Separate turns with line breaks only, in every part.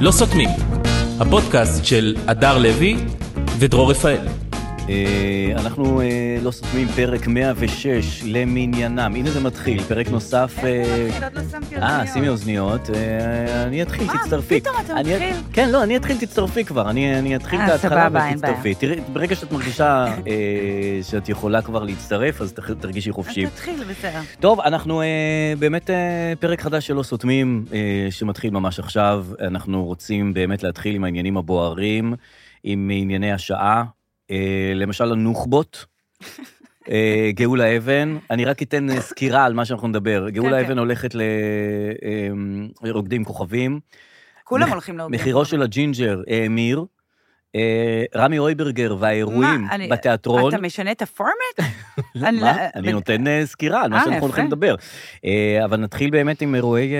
לא סותמים, הפודקאסט של הדר לוי ודרור רפאל.
אה, אנחנו אה, לא סותמים פרק 106 למניינם. הנה זה מתחיל, פרק נוסף... אה,
איך לא שמתי עוד
אה, שימי אוזניות, אה, אני אתחיל,
אה,
תצטרפי.
פתאום אתה
אני-
מתחיל?
כן, לא, אני אתחיל, תצטרפי כבר. אני אני אתחיל את
אה,
ההתחלה
סבבה, אין
ותצטרפי. תראי, ברגע שאת מרגישה אה, שאת יכולה כבר להצטרף, אז תח- תרגישי חופשי.
אז תתחיל, בסדר.
טוב, אנחנו אה, באמת אה, פרק חדש שלא סותמים, אה, שמתחיל ממש עכשיו. אנחנו רוצים באמת להתחיל עם העניינים הבוערים, עם ענייני השעה, אה, למשל הנוח'בות. אה, גאולה אבן, אני רק אתן אה, סקירה על מה שאנחנו נדבר. גאולה
כן.
אבן הולכת לרוקדים עם כוכבים,
לא, כולם
מח-
הולכים להוגן.
מחירו של הג'ינג'ר האמיר, אה, רמי אויברגר והאירועים
מה, אני-
בתיאטרון.
אתה משנה את הפורמט? אני לא-
מה? אני
בן-
נותן אה, סקירה על מה
אה,
שאנחנו
יפה.
הולכים לדבר. אה, אבל נתחיל באמת עם אירועי אה,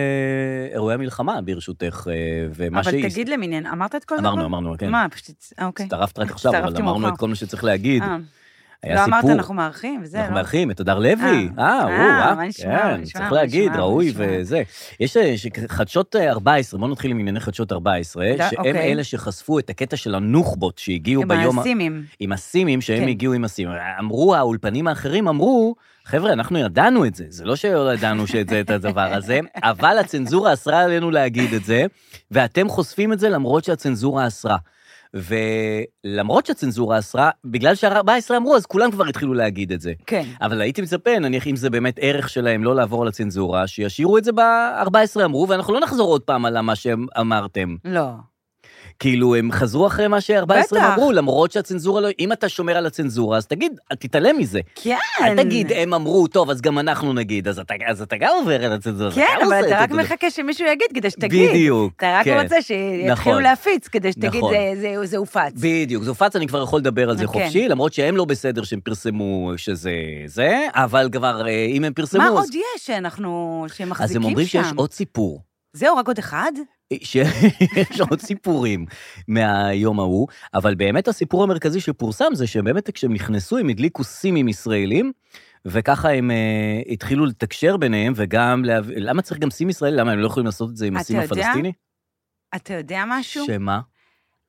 אירועי המלחמה, ברשותך, אה, ומה
אבל
שהיא...
תגיד למניין, אמרת את כל זה?
אמרנו,
כבר?
אמרנו, כן.
מה, פשוט... אה, אוקיי.
הצטרפת רק עכשיו, אבל
הצטרפתי
אמרנו
מאוחר.
את כל מה שצריך להגיד.
אה,
היה
לא אמרת,
סיפור.
אנחנו מארחים וזה,
אנחנו
לא?
מארחים את הדר לוי.
אה,
אה,
אה,
הוא, אה.
מה נשמע, מה
כן,
נשמע,
צריך
מה
להגיד,
נשמע, מה
ראוי
נשמע.
וזה. יש אה, ש- חדשות אה, 14, בואו נתחיל עם ענייני חדשות 14,
ד-
שהם
אוקיי.
אלה שחשפו את הקטע של הנוח'בות שהגיעו
עם
ביום... ה-
הסימים.
עם הסימים, שהם
כן.
הגיעו עם הסימים. אמרו, האולפנים האחרים אמרו, חבר'ה, אנחנו ידענו את זה, זה לא שלא ידענו שאת זה, את הדבר הזה, אבל הצנזורה אסרה עלינו להגיד את זה, ואתם חושפים את זה למרות שהצנזורה אסרה. ולמרות שהצנזורה אסרה, בגלל שה-14 אמרו, אז כולם כבר התחילו להגיד את זה.
כן.
אבל הייתי מצפה, נניח, אם זה באמת ערך שלהם לא לעבור על הצנזורה, שישאירו את זה ב-14 אמרו, ואנחנו לא נחזור עוד פעם על מה שהם אמרתם.
לא.
כאילו, הם חזרו אחרי מה ש-14
בטח.
אמרו, למרות שהצנזורה לא... אם אתה שומר על הצנזורה, אז תגיד, אל תתעלם מזה.
כן.
אל תגיד, אה, הם אמרו, טוב, אז גם אנחנו נגיד, אז אתה, אז אתה גם עובר על הצנזורה. אתה
כן,
גם
אבל
עושה
אתה
את
רק
אותו דבר.
מחכה שמישהו יגיד כדי שתגיד.
בדיוק,
אתה רק
כן.
רוצה שיתחילו
נכון.
להפיץ כדי שתגיד,
נכון.
"זה- זה- זה הופץ.
בדיוק, זה הופץ, אני כבר יכול לדבר על זה
כן.
חופשי, למרות שהם לא בסדר שהם פרסמו שזה זה, אבל כבר, אה, אם הם פרסמו...
מה
אז-
עוד יש שאנחנו, שמחזיקים שם?
אז הם אומרים שיש עוד סיפור.
זהו, רק עוד אחד?
שיש עוד סיפורים מהיום ההוא, אבל באמת הסיפור המרכזי שפורסם זה שבאמת כשהם נכנסו הם הדליקו סימים ישראלים, וככה הם אה, התחילו לתקשר ביניהם, וגם, להב... למה צריך גם סים ישראלי? למה הם לא יכולים לעשות את זה עם
אתה
הסים
יודע
הפלסטיני?
אתה יודע משהו?
שמה?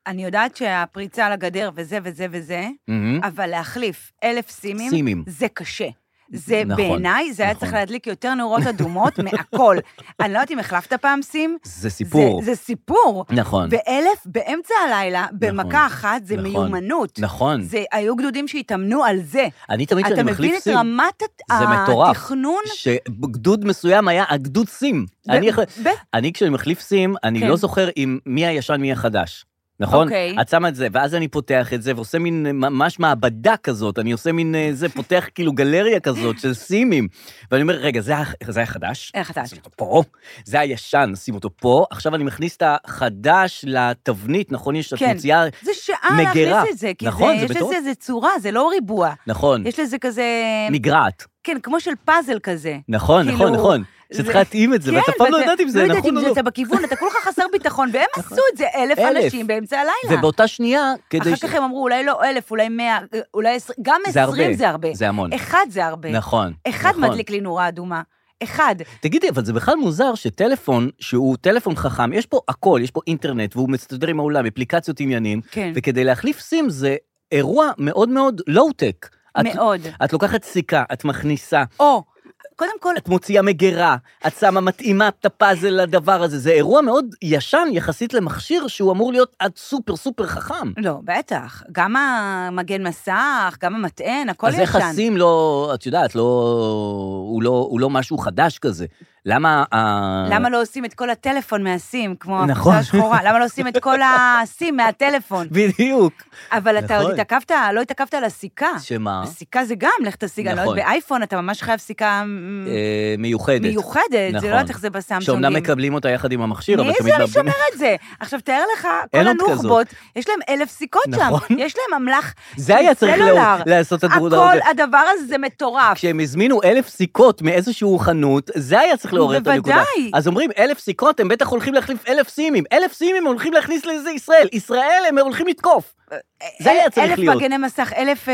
אני יודעת שהפריצה על הגדר וזה וזה וזה,
מהמם.
אבל להחליף אלף סימים,
סימים.
זה קשה. זה
נכון,
בעיניי, זה היה
נכון.
צריך להדליק יותר נורות אדומות מהכל. אני לא יודעת אם החלפת פעם סים.
זה סיפור.
זה, זה סיפור.
נכון,
ואלף באמצע הלילה, במכה אחת, זה
נכון.
מיומנות.
נכון.
זה, היו גדודים שהתאמנו על זה.
אני תמיד
אתה
כשאני
מבין
מחליף
את
סים,
רמת הת-
זה מטורף.
התכנון?
שגדוד מסוים היה הגדוד סים.
ב-
אני יכול...
ב-
אני, כשאני מחליף סים, אני
כן.
לא זוכר עם מי הישן, מי החדש. נכון?
אוקיי.
את שמה את זה, ואז אני פותח את זה, ועושה מין אה, ממש מעבדה כזאת, אני עושה מין אה, זה, פותח כאילו גלריה כזאת של סימים. ואני אומר, רגע, זה, הח- זה החדש?
אה, חדש.
שים אותו פה, זה הישן, שים אותו פה, עכשיו אני מכניס את החדש לתבנית, נכון? יש את
כן.
מוציאה,
זה שעה
מגירה.
להכניס את זה, כי
נכון, זה
זה, יש
מטורף.
לזה איזה צורה, זה לא ריבוע.
נכון,
יש לזה כזה,
נגרעת.
כן, כמו של פאזל כזה.
נכון,
כאילו,
נכון, נכון. שצריך
זה-
להתאים את זה,
כן,
ואת אף פעם לא
ואתה-
יודעת אם זה
לא יודעת
נכון
אם
או
זה-
לא. נכון.
אתה בכיוון, אתה כל כך חסר ביטחון, והם עשו את זה, אלף
אלף.
אנשים באמצע הלילה.
ובאותה שנייה, כדי
אחר
ש...
כך הם אמרו, אולי לא אלף, אולי מאה, אה, אולי עשרים, גם
זה הרבה.
עשרים זה הרבה.
זה המון.
אחד זה הרבה.
נכון.
אחד
נכון.
מדליק לי נורה אדומה. אחד.
תגידי, אבל זה בכלל מוזר שטלפון, שהוא טלפון חכם, יש פה הכל, יש פה אינטרנט, והוא מסתדר עם העולם, אפליקציות עניינים,
כן.
וכדי להחליף סים זה אירוע מאוד מאוד לואו-טק. את-
מאוד.
את לוקחת סיכה, את מכניסה,
או, קודם כל,
את מוציאה מגירה, את שמה, מתאימה את הפאזל לדבר הזה. זה אירוע מאוד ישן יחסית למכשיר שהוא אמור להיות עד סופר סופר חכם.
לא, בטח. גם המגן מסך, גם המטען, הכל
אז
ישן.
איך הסים לא, את יודעת, לא, הוא לא, הוא לא משהו חדש כזה. למה... ה-
למה לא עושים את כל הטלפון מהסים, כמו
נכון.
הקבוצה השחורה? למה לא עושים את כל הסים מהטלפון?
בדיוק.
אבל אתה עוד
נכון.
התעכבת, לא התעכבת על הסיכה.
שמה?
סיכה זה גם, לך תשיג, אני לא
נכון.
יודעת, באייפון אתה ממש חייב סיכה מ,
אה, מיוחדת.
Mm. מיוחדת,
נכון.
זה לא יודעת איך זה בסמסונגים.
שאומנם מקבלים אותה יחד עם המכשיר, אבל
מי
תמיד...
זה
מאבדים-
שומר את זה? עכשיו, תאר לך,
אין
כל
עוד כזאת.
הנוח'בות, יש להם אלף סיכות
נכון.
שם, יש להם אמל"ח
זה היה צריך לא-
סלולר.
לעשות את הדבר
הכל, הדבר הזה זה מטורף.
כשהם הזמינו אלף סיכות מאיזשהו חנות, זה היה צריך צריך לעורר את הנקודה.
בוודאי.
אז אומרים, אלף סיכות, הם בטח הולכים להחליף אלף סימים. אלף סימים הם הולכים להכניס לזה ישראל. ישראל, הם הולכים לתקוף. כן, זה היה צריך להיות.
אה, אלף מגני מסך, אלף... אה,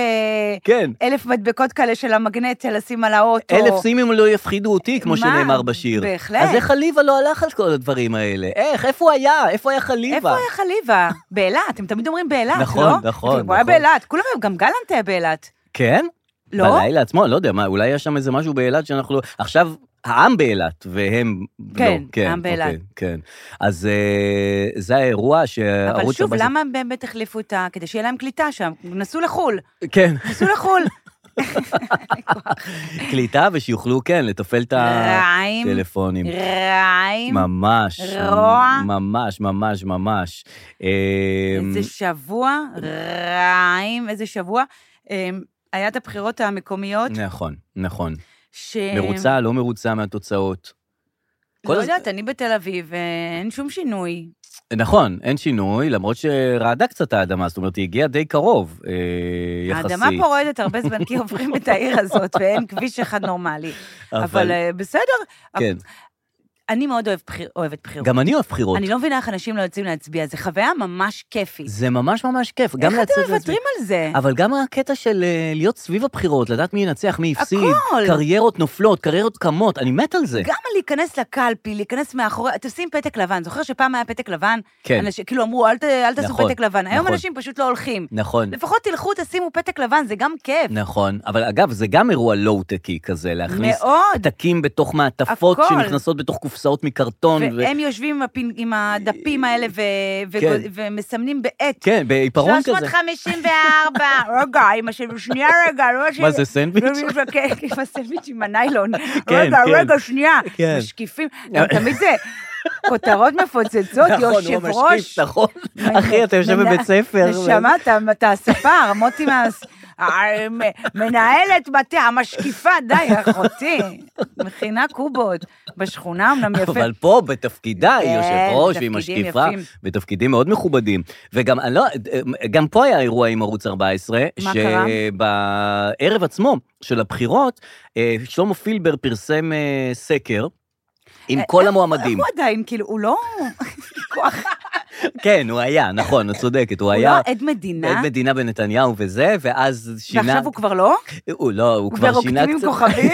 כן.
אלף מדבקות כאלה של המגנט לשים על האוטו.
אלף סימים לא יפחידו אותי, כמו
מה?
שנאמר בשיר.
בהחלט.
אז איך חליבה לא הלך על כל הדברים האלה? איך? איפה הוא היה? איפה היה חליבה?
איפה היה חליבה? באילת, הם תמיד אומרים באילת, לא?
נכון, נכון,
הוא היה
נכון.
באילת, כולם, גם גלנט היה באילת.
כן?
לא?
בלילה עצמו, לא יודע, מה, אולי היה שם איזה משהו באילת שאנחנו לא... עכשיו, העם באילת, והם...
כן,
לא, כן,
העם באילת.
אוקיי, כן. אז אה, זה האירוע שערוץ...
אבל שוב,
14
למה הם באמת החליפו אותה? כדי שיהיה להם קליטה שם. נסעו לחו"ל,
כן,
נסעו לחו"ל.
קליטה, ושיוכלו, כן, לתפעל את
רעיים.
הטלפונים.
רעים,
ממש.
רוע.
ממש, ממש, ממש. אמ,
איזה שבוע, רעים, איזה שבוע. אמ, היה את הבחירות המקומיות,
נכון, נכון.
ש...
מרוצה, לא מרוצה מהתוצאות. כל
אה. לא
הז-
יודעת, אני בתל אביב, אה, אין שום שינוי.
נכון, אין שינוי, למרות שרעדה קצת האדמה, זאת אומרת, היא הגיעה די קרוב, אה, יחסית.
האדמה פה רועדת הרבה זמן, כי עוברים את העיר הזאת, ואין כביש אחד נורמלי. אבל אה, בסדר,
כן,
אני מאוד אוהב בחיר- אוהבת בחירות.
גם אני אוהב בחירות.
אוקיי. אני לא מבינה איך אנשים לא יוצאים להצביע, זו חוויה ממש כיפית.
זה ממש ממש כיף, גם
איך
לצאת
אתם מוותרים על זה?
אבל גם הקטע של אה, להיות סביב הבחירות, לדעת מי ינצח, מי הפסיד.
הכל.
קריירות נופלות, קריירות קמות, אני מת על זה.
גם להיכנס לקלפי, להיכנס מאחורי, תשים פתק לבן. זוכר שפעם היה פתק לבן?
כן,
אנשים, כאילו אמרו, אל, ת, אל תעשו
נכון,
פתק לבן. היום
נכון.
אנשים פשוט לא הולכים.
נכון.
לפחות תלכו, תשימו פתק לבן, זה גם כיף.
נכון, אבל אגב, זה גם אירוע לואו-טקי כזה, להכניס
מאוד.
פתקים בתוך מעטפות
הכל.
שנכנסות בתוך קופסאות מקרטון. ו-
והם יושבים עם, הפין, עם הדפים האלה ו, ו,
כן.
ומסמנים בעט.
כן, בעיפרון כזה.
354, רגע, אמא שלי, שנייה רגע, לא ש...
מה זה, סנדוויץ'?
כן, עם הסנדוויץ' עם הניילון.
כן,
רגע,
כן.
רגע, שנייה.
כן.
משקיפים. גם תמיד זה כותרות מפוצצות, יושב
נכון, הוא
ראש.
משקיף, נכון. אחי, אתה יושב
מנה-
בבית ספר.
נשמה, אתה- אתה הספר, מוטי מה... ה- מ- מנהלת בתי, המשקיפה, די, אחותי. מכינה קובות. בשכונה אמנם יפה.
אבל פה, בתפקידה, היא
כן,
יושב ראש והיא
בתפקידים
משקיפה,
יפים.
בתפקידים מאוד מכובדים. וגם אני לא, גם פה היה אירוע עם ערוץ 14,
מה קרה?
שבערב עצמו של הבחירות, אה, שלמה פילבר פרסם אה, סקר.
אה,
עם כל המועמדים.
הוא עדיין, כאילו, הוא לא... כוח.
כן, הוא היה, נכון, את צודקת, הוא
אה, הוא לא
היה
עד מדינה.
עד מדינה בנתניהו וזה, ואז שינה...
ועכשיו הוא כבר לא?
הוא לא, הוא כבר שינה
ורוקדים עם
קצת...
כוכבים?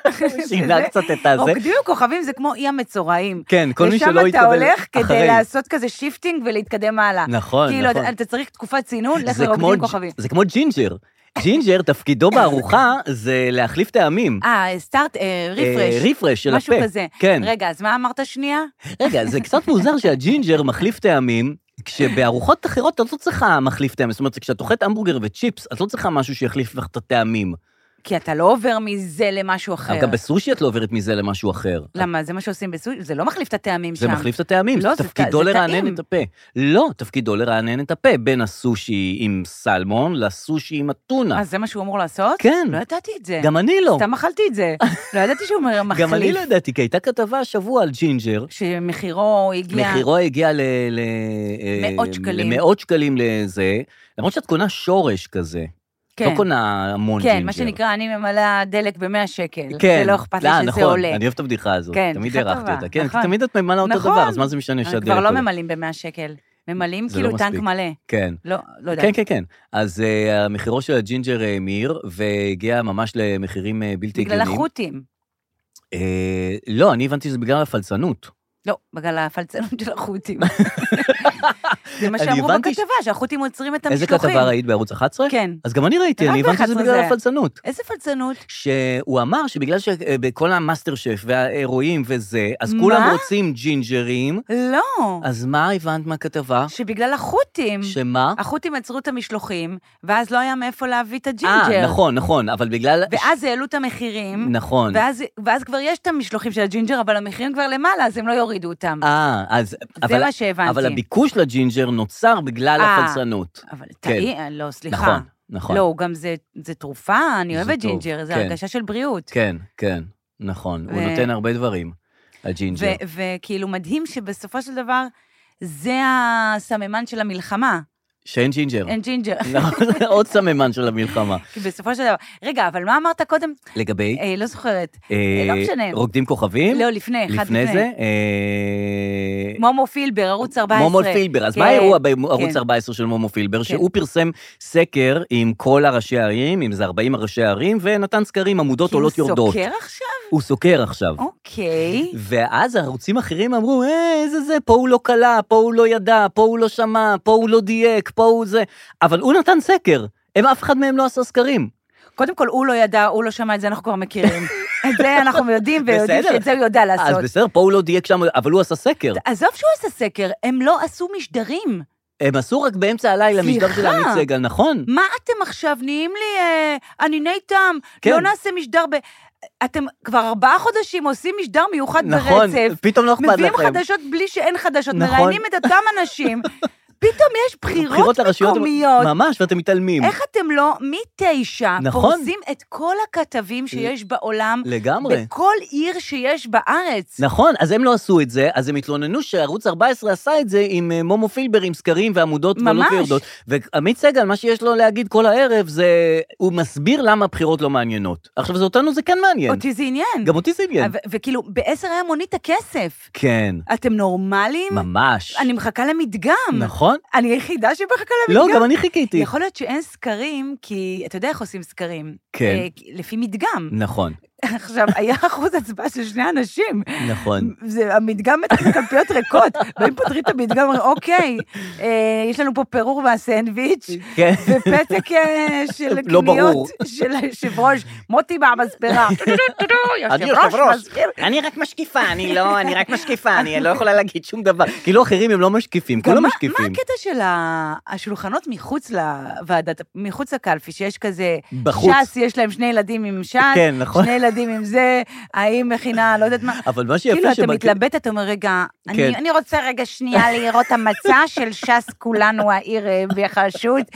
שינה
שזה-
קצת את הזה.
רוקדים עם כוכבים זה כמו אי המצורעים.
כן, כל מי שלא
לשם אתה
התקבל
הולך כדי
אחרי.
לעשות כזה שיפטינג ולהתקדם הלאה.
נכון,
כאילו,
נכון.
אתה- אתה צריך תקופת צינון, לך
זה כמו
לרוקדים עם
ג'-
כוכבים.
זה כמו ג'ינג'ר. ג'ינג'ר, תפקידו בארוחה זה להחליף טעמים.
אה, סטארט, אה,
אה,
ריפרש.
רפרש של הפה.
משהו כזה.
כן.
רגע, אז מה אמרת שנייה?
רגע, זה קצת מוזר שהג'ינג'ר מחליף טעמים. כשבארוחות אחרות את לא צריכה מחליף טעמים, זאת אומרת, כשאת אוכלת המבורגר וצ'יפס, את לא צריכה משהו שיחליף לך את הטעמים.
כי אתה לא עובר מזה למשהו אחר.
אבל גם בסושי את לא עוברת מזה למשהו אחר.
למה? זה מה שעושים בסושי? זה לא מחליף את הטעמים שם.
זה מחליף את הטעמים,
לא, זה
תפקידו
טע- זה
לרענן
טעים.
את הפה. לא, תפקידו לרענן את הפה, בין הסושי עם סלמון לסושי עם אתונה.
אז אה, זה מה שהוא אמור לעשות?
כן.
לא ידעתי את זה.
גם אני לא.
סתם אכלתי את זה. לא ידעתי שהוא מחליף.
גם אני לא ידעתי, כי הייתה כתבה השבוע על ג'ינג'ר,
שמחירו הגיע...
מחירו הגיע ל... ל... אה,
מאות שקלים.
למאות שקלים לזה, למרות שאת קונה שורש כזה,
כן.
לא קונה המון ג'ינג'ר.
כן, מה שנקרא, אני ממלאה דלק ב-100 שקל.
כן.
זה לא אכפת לי
אה,
שזה
נכון,
עולה.
אני אוהב את הבדיחה הזאת,
כן,
תמיד
בדיחה
הערכתי
טובה,
אותה. כן, כי
נכון.
תמיד את ממלאה אותו
נכון.
דבר, אז מה זה משנה
אנחנו
שהדלק
כבר
עולה?
לא ממלאים ב-100 שקל. ממלאים
זה לא
כאילו טנק
מספיק.
מלא.
כן.
לא, לא יודעת.
כן, כן, כן. אז אה, המחירו של הג'ינג'ר אה, מאיר, והגיע ממש למחירים אה, בלתי
בגלל
הגיוניים.
החות'ים.
אה, לא, אני הבנתי שזה בגלל הפלצנות.
לא, בגלל הפלצנות של החות'ים. זה מה
אני
שאמרו
הבנתי
בכתבה, שהחות'ים עוצרים את
איזה
המשלוחים.
כתבה ראית בערוץ 11?
כן.
אז גם אני ראיתי,
רק
אני הבנתי שזה
ב-11
בגלל
זה היה.
הפלצנות.
איזה פלצנות?
שהוא אמר שבגלל שבכל המאסטר שף והאירועים וזה, אז
מה?
כולם רוצים ג'ינג'רים,
לא.
אז מה הבנת מהכתבה?
שבגלל החות'ים.
שמה? אה,
החות'ים עצרו את המשלוחים, ואז לא היה מאיפה להביא את הג'ינג'ר.
אה, נכון, נכון, אבל בגלל...
ואז העלו את המחירים.
נכון.
ואז, ואז כבר יש את המשלוחים של הג'ינג'ר, אבל המחירים כבר למעלה, אז הם לא יורידו אותם.
אה, אז...
זה
אבל-
מה שהבנתי.
אבל הביקוש לג'ינג'ר נוצר בגלל
אה,
הפלצנות.
אבל טעי, לא, סליחה.
כן. נכון, נכון.
לא, הוא גם זה, זה תרופה, אני
זה
אוהבת
טוב,
ג'ינג'ר, זה
כן.
הרגשה של בריאות.
כן, כן, נכון. הוא
ו-
נותן הרבה דברים, הג'ינג'ר.
ו- וכאילו מדהים שבסופו של דבר, זה הסממן של המלחמה.
שאין ג'ינג'ר.
אין ג'ינג'ר.
לא, עוד סממן של המלחמה.
כי בסופו של דבר... רגע, אבל מה אמרת קודם?
לגבי...
אה, לא זוכרת.
אה,
לא משנה.
רוקדים כוכבים?
לא, לפני, אחד
לפני
לפני.
זה? אה,
מומו פילבר, ערוץ 14.
מומו פילבר, אז
כן,
מה האירוע בערוץ
כן.
14 של מומו פילבר? שהוא
כן.
פרסם סקר עם כל הראשי הערים, אם זה 40 הראשי הערים, ונתן סקרים, עמודות עולות יורדות.
כי הוא כאילו סוקר עכשיו?
הוא סוקר עכשיו.
אוקיי.
ואז ערוצים אחרים אמרו, אה, איזה זה, פה הוא לא קלע, פה הוא לא ידע, פה הוא לא שמע, פה הוא לא דייק, פה הוא זה. אבל הוא נתן סקר, הם אף אחד מהם לא עשה סקרים.
קודם כל, הוא לא ידע, הוא לא שמע את זה, אנחנו כבר מכירים. את זה אנחנו יודעים, ויודעים
בסדר.
שאת זה הוא יודע
אז
לעשות.
בסדר, פה הוא לא דייק שם, אבל הוא עשה סקר.
עזוב שהוא עשה סקר, הם לא עשו משדרים.
הם עשו רק באמצע הלילה משדר של
סליחה.
עמית סגל, נכון?
מה אתם עכשיו נהיים לי אה, עניני טעם?
כן.
לא נעשה משדר ב... אתם כבר ארבעה חודשים עושים משדר מיוחד
נכון,
ברצף.
פתאום לא אכפת לכם.
מביאים חדשות בלי שאין חדשות,
נכון.
מראיינים את אותם אנשים. פתאום יש בחירות
בחירות לרשויות
מקומיות.
ממש, ואתם מתעלמים.
איך אתם לא מתשע
נכון.
פורסים את כל הכתבים שיש בעולם,
לגמרי.
בכל עיר שיש בארץ?
נכון, אז הם לא עשו את זה, אז הם התלוננו שערוץ 14 עשה את זה עם אה, מומו פילבר, עם סקרים ועמודות ועולות
ממש.
ויורדות. ועמית סגל, מה שיש לו להגיד כל הערב זה, הוא מסביר למה הבחירות לא מעניינות. עכשיו, זה אותנו זה כן מעניין.
אותי זה עניין.
גם כן. אותי זה עניין.
ו- וכאילו, בעשר היה מונית הכסף.
כן,
אתם נורמלים?
ממש.
אני מחכה למדגם.
נכון?
אני היחידה שמחכה למדגם.
לא, גם אני חיכיתי.
יכול להיות שאין סקרים, כי אתה יודע איך עושים סקרים.
כן.
אה, לפי מדגם.
נכון,
עכשיו, היה אחוז הצבעה של שני אנשים.
נכון.
זה המדגם מתחיל קלפיות ריקות, והם פותרים את המדגם, אומרים, אוקיי, אה, יש לנו פה פירור מהסנדוויץ',
כן.
ופתק אה, של
לא ברור.
קניות של היושב ראש, מוטי מהמספרה.
אני
יושב
יושב-ראש.
ראש מזכיר.
אני רק משקיפה, אני לא, אני רק משקיפה, אני לא יכולה להגיד שום דבר. כאילו אחרים הם לא משקיפים,
גם
כולם
מה-
משקיפים.
מה הקטע של ה- השולחנות מחוץ לוועדת, מחוץ לקלפי, שיש כזה...
בחוץ.
ש"ס, יש להם שני ילדים עם ש"ס,
כן, נכון.
שני ילדים עם זה, האם מכינה, לא יודעת מה.
אבל מה שיפה
כאילו, אתה
שבק-
מתלבט, אתה אומר, רגע, אני-
כן.
אני רוצה רגע שנייה לראות המצע של ש"ס, כולנו העיר אה, וחשות,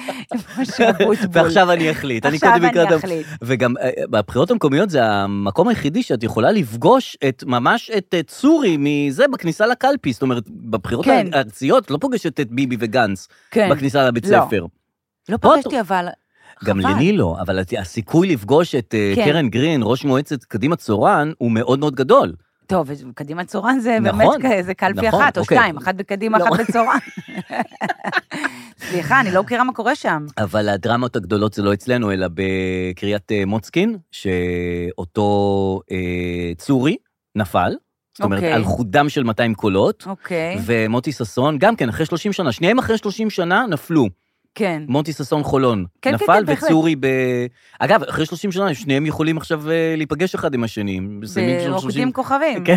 משהו בוטבול.
ועכשיו אני אחליט. אני
עכשיו
קודם
אני
לקראת ה-
אחליט.
וגם אה, בבחירות המקומיות זה המקום היחידי שאת יכולה לפגוש את, ממש את אה, צורי מזה בכניסה לקלפי. זאת אומרת, בבחירות
כן.
הארציות את לא פוגשת את ביבי וגנץ
כן.
בכניסה לבית
לא.
ספר.
לא
פה
פגשתי, אבל...
גם
חבל.
לני לא, אבל הת- הסיכוי לפגוש את אה,
כן.
קרן גרין, ראש מועצת קדימה צורן, הוא מאוד מאוד גדול.
טוב, אז קדימה צורן זה באמת
נכון,
איזה קלפי
נכון,
אחת או
אוקיי.
שתיים, אחת בקדימה,
לא.
אחת בצורן. סליחה, אני לא מכירה מה קורה שם.
אבל הדרמות הגדולות זה לא אצלנו, אלא בקריית אה, מוצקין, שאותו אה, צורי נפל. זאת אומרת,
אוקיי.
על חודם של 200 קולות.
אוקיי,
ומוטי ששון, גם כן, אחרי 30 שנה, שניהם אחרי 30 שנה נפלו.
כן.
מוטי ששון חולון.
כן, כן,
נפל
כן, בהחלט.
וצורי ב... אגב, אחרי 30 שנה, שניהם יכולים עכשיו אה, להיפגש אחד עם השני. הם מסיימים של אה, 30
ורוקדים כוכבים.
כן.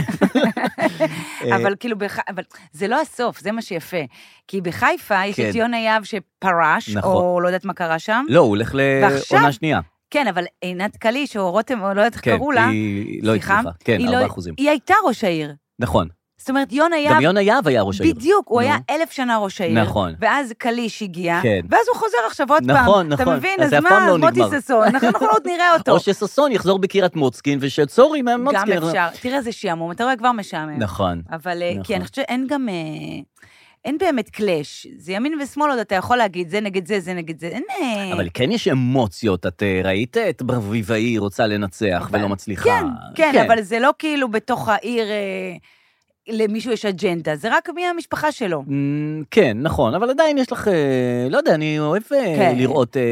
אבל כאילו, בח... אבל זה לא הסוף, זה מה שיפה. כי בחיפה יש
כן.
את יונה יהב שפרש,
נכון.
או לא יודעת מה קרה שם.
לא, הוא הולך
ועכשיו-
לעונה שנייה.
כן, אבל עינת קליש, או רותם, או לא יודעת איך
כן,
קראו לה.
היא לא
סליחה?
הצליחה. כן,
היא לא-
4 אחוזים.
היא הייתה ראש העיר.
נכון.
זאת אומרת, יונה יהב...
גם יונה יהב היה ראש העיר.
בדיוק, הוא
נו.
היה אלף שנה ראש העיר.
נכון.
ואז קליש הגיע,
כן.
ואז הוא חוזר עכשיו עוד פעם.
נכון,
אתה
נכון.
מבין?
אז
אז
זה אף פעם
מה,
לא
מוטי
נגמר.
ששון, אנחנו עוד נראה אותו.
או שששון יחזור בקריית מוצקין, ושצורי מהמוצקין.
גם אפשר. תראה איזה שעמום, אתה רואה כבר משעמם.
נכון.
אבל אה,
נכון.
כי אני חושבת שאין גם... אה, אין באמת קלאש. זה ימין ושמאל עוד אתה יכול להגיד, זה נגד זה, זה נגד זה. אין... אה,
אבל כן יש אמוציות, את אה, ראית את ברביבאי רוצה לנצח ולא מצליחה.
כן, כן, אבל זה לא כאילו בתוך העיר אה, למישהו יש אג'נדה, זה רק מי המשפחה שלו.
אמ, כן, נכון, אבל עדיין יש לך, אה, לא יודע, אני אוהב אה,
כן.
לראות אה,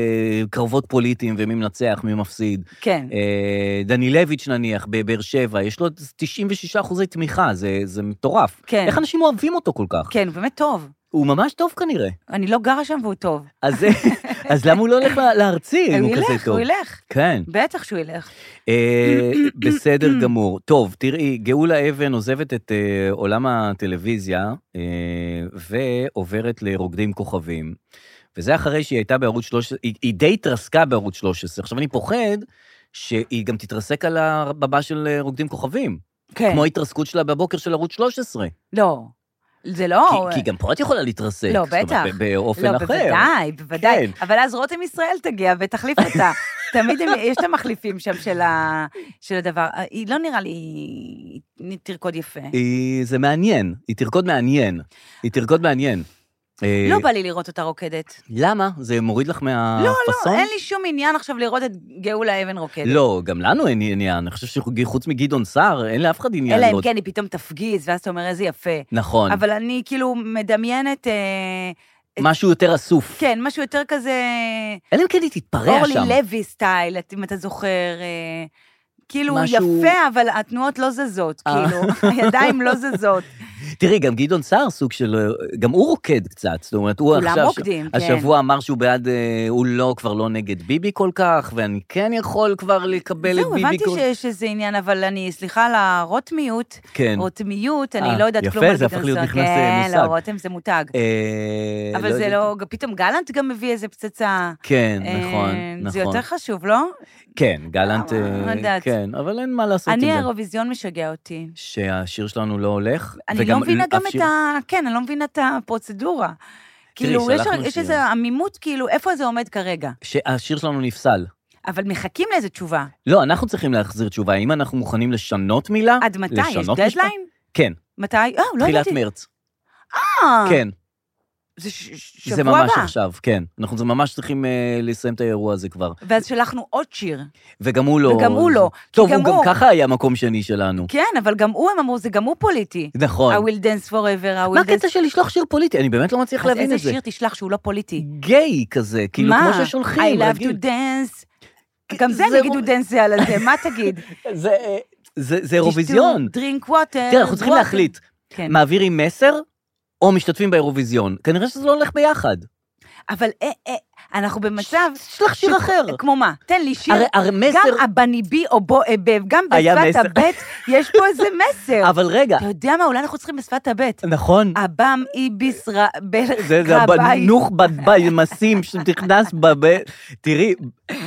קרבות פוליטיים ומי מנצח, מי מפסיד.
כן.
אה, דנילביץ' נניח, בבאר שבע, יש לו 96 אחוזי תמיכה, זה, זה מטורף.
כן.
איך אנשים אוהבים אותו כל כך?
כן, הוא באמת טוב.
הוא ממש טוב כנראה.
אני לא גרה שם והוא טוב.
אז, זה- אז למה הוא לא הולך לה- לארצי אם הוא כזה
הוא
טוב?
ילך, הוא ילך.
כן.
בטח שהוא ילך.
אה, בסדר גמור. טוב, תראי, גאולה אבן עוזבת את אה, עולם הטלוויזיה אה, ועוברת לרוקדים כוכבים. וזה אחרי שהיא הייתה בערוץ 13, היא, היא די התרסקה בערוץ 13. עכשיו, אני פוחד שהיא גם תתרסק על הבמה של אה, רוקדים כוכבים,
כן.
כמו ההתרסקות שלה בבוקר של ערוץ 13.
לא. זה לא...
כי, כי גם פה את יכולה להתרסק.
לא,
זאת אומרת,
בטח.
ב- באופן
לא,
אחר.
בוודאי, בוודאי.
כן.
אבל אז רותם ישראל תגיע ותחליף אותה. תמיד הם- יש את המחליפים שם של ה- של הדבר. היא לא נראה לי... היא תרקוד יפה.
אה. היא, זה מעניין, היא תרקוד מעניין. היא תרקוד מעניין. אה,
לא בא לי לראות אותה רוקדת.
למה? זה מוריד לך מהפאסון?
לא, לא, אין לי שום עניין עכשיו לראות את גאולה אבן רוקדת.
נכון. לא, גם לנו אין עניין. אני חושב שחוץ מגדעון סער, אין לאף אחד עניין.
אלא אם
לראות.
כן היא פתאום תפגיז, ואז אתה אומר, איזה יפה.
נכון.
אבל אני כאילו מדמיינת, אה,
משהו יותר אסוף.
כן, משהו יותר כזה
אלא אם כן היא תתפרע
אורלי
שם.
לוי סטייל, את- אם אתה זוכר. אה, כאילו,
משהו-
יפה, אבל התנועות לא זזות,
אה.
כאילו, הידיים לא זזות.
תראי, גם גדעון סער סוג של... גם הוא רוקד קצת, זאת אומרת, הוא
כולם
עכשיו...
רוקדים, כן.
השבוע אמר שהוא בעד, אה, הוא לא, כבר לא נגד ביבי כל כך, ואני כן יכול כבר לקבל את
זהו,
ביבי
הבנתי
כל...
ש- שזה עניין, אבל אני, סליחה על הרוטמיות,
כן.
רוטמיות,
אה,
אני לא יודעת
יפה,
כלום על
זה הפך
גדעון
להיות
סער.
נכנס, אה,
כן,
מושג.
לא, רותם זה מותג.
אה,
אבל זה
יודע-
לא, פתאום גלנט גם מביא איזה פצצה.
כן,
אה,
נכון, נכון.
זה יותר חשוב, לא?
כן, גלנט...
לא
אה,
יודעת.
כן, אבל אין מה לעשות עם
אני,
זה.
האירוויזיון משגע אותי.
שהשיר שלנו לא הולך.
אני לא
וגם
מבינה גם
אף
את
שיר-
ה... כן, אני לא מבינה את הפרוצדורה. כאילו, יש-
שלחנו
יש
שיר.
איזו עמימות, כאילו, איפה זה עומד כרגע?
שהשיר שלנו נפסל.
אבל מחכים לאיזו תשובה.
לא, אנחנו צריכים להחזיר תשובה. אם אנחנו מוכנים לשנות מילה...
עד מתי? יש
לשנות משפט?
דדליין?
כן,
מתי? אה, לא
תחילת
ידעתי.
מרץ.
אה,
כן,
זה ש- ש-
זה
שבוע
ממש
הבא.
עכשיו, כן. אנחנו זה ממש צריכים אה, לסיים את האירוע הזה כבר.
ואז שלחנו עוד שיר.
וגם הוא לא...
וגם הוא לא, כי
טוב,
גם
הוא גם
הוא-
ככה היה מקום שני שלנו.
כן, אבל גם הוא, הם אמרו, זה גם הוא פוליטי. I
נכון.
will dance forever, I will
מה
dance...
הקטע של לשלוח שיר פוליטי? אני באמת לא מצליח
אז
להבין
איזה
את זה.
שיר תשלח שהוא לא פוליטי?
גיי כזה, כאילו
מה?
כמו ששולחים,
I love
רגיל.
to dance. גם זה
זה
הם יגידו
רוב-
dance זה על הזה, מה תגיד?
זה, אה, זה זה אירוויזיון.
דרינק ווטר.
תראה, אנחנו צריכים להחליט,
כן.
מעבירים מסר או משתתפים באירוויזיון. כנראה שזה לא הולך ביחד.
אבל אה, אה, אנחנו במצב...
שלח שיר
ש-
אחר.
כמו מה? תן לי שיר.
אה, הרי- הרי
גם
מסר...
הבניבי או בו... אה, ב- גם
היה
בשפת
מסר.
הבט יש פה איזה מסר.
אבל רגע,
אתה יודע מה? אולי אנחנו צריכים בשפת הבט.
נכון.
אב"ם אי בישראל
זה זה הבנוך בלמסים שנכנס ב... ב- תראי,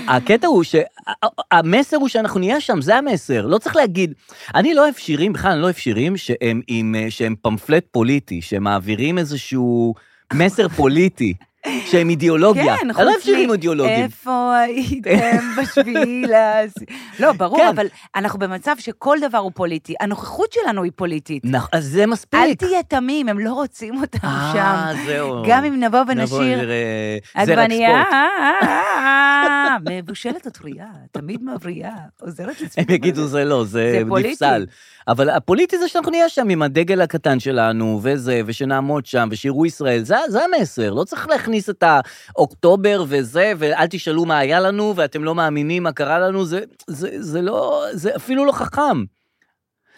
הקטע הוא ש... ה- המסר הוא שאנחנו נהיה שם, זה המסר. לא צריך להגיד... אני לא אוהב שירים, בכלל אני לא אוהב שירים שהם, עם, אה, שהם פמפלט פוליטי, שמעבירים איזשהו מסר פוליטי, שהם אידיאולוגיה.
כן,
אני לא אוהב
חוץ
שירים
מ- אה,
אידיאולוגיים.
איפה הייתם בשביל אז... לא, ברור,
כן.
אבל אנחנו במצב שכל דבר הוא פוליטי. הנוכחות שלנו היא פוליטית.
נכ- נכון, אז זה
אל
מספיק.
תהיה תמים, הם לא רוצים אותנו
אה,
שם.
זהו.
גם אם נבוא
נבוא
ונשיר,
ונראה- זה רק
עגבנייה,
ספורט.
מבושלת או טרייה, תמיד מבריאה, עוזרת לצפות.
הם יגידו זה לא, זה
זה פוליטי.
נפסל. אבל הפוליטי זה שאנחנו נהיה שם עם הדגל הקטן שלנו, וזה, ושנעמוד שם, ושיראו ישראל, זה, זה המסר. לא צריך להכניס את האוקטובר וזה, ואל תשאלו מה היה לנו, ואתם לא מאמינים מה קרה לנו, זה, זה, זה לא, זה אפילו לא חכם.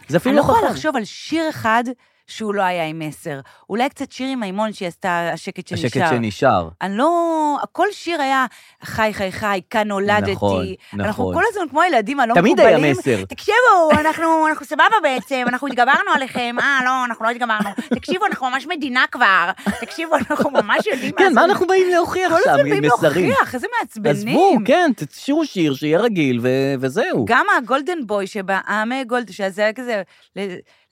זה אפילו
אני
לא
לא יכולה
חכם.
לחשוב על שיר אחד שהוא לא היה עם מסר. אולי קצת שיר עם מימון שהיא עשתה, השקט שנשאר.
השקט שנשאר.
אני לא... כל שיר היה חי, חי, חי, כאן נולדתי.
נכון,
אנחנו
נכון.
כל הזמן כמו הילדים הלא
תמיד
מקובלים.
היה מסר.
תקשיבו, אנחנו, אנחנו סבבה בעצם, אנחנו התגברנו עליכם. אה, לא, אנחנו לא התגברנו. תקשיבו, אנחנו ממש מדינה כבר. תקשיבו, אנחנו ממש יודעים
כן, מה
לעשות.
אנחנו באים להוכיח
כל
שם,
הזמן
עם
באים
מסרים?
להוכיח, איזה מעצבנים.
עזבו, כן, תשאירו שיר שיהיה רגיל, ו- וזהו.
גם הגולדן בוי שבעמי גולד, שזה היה כזה,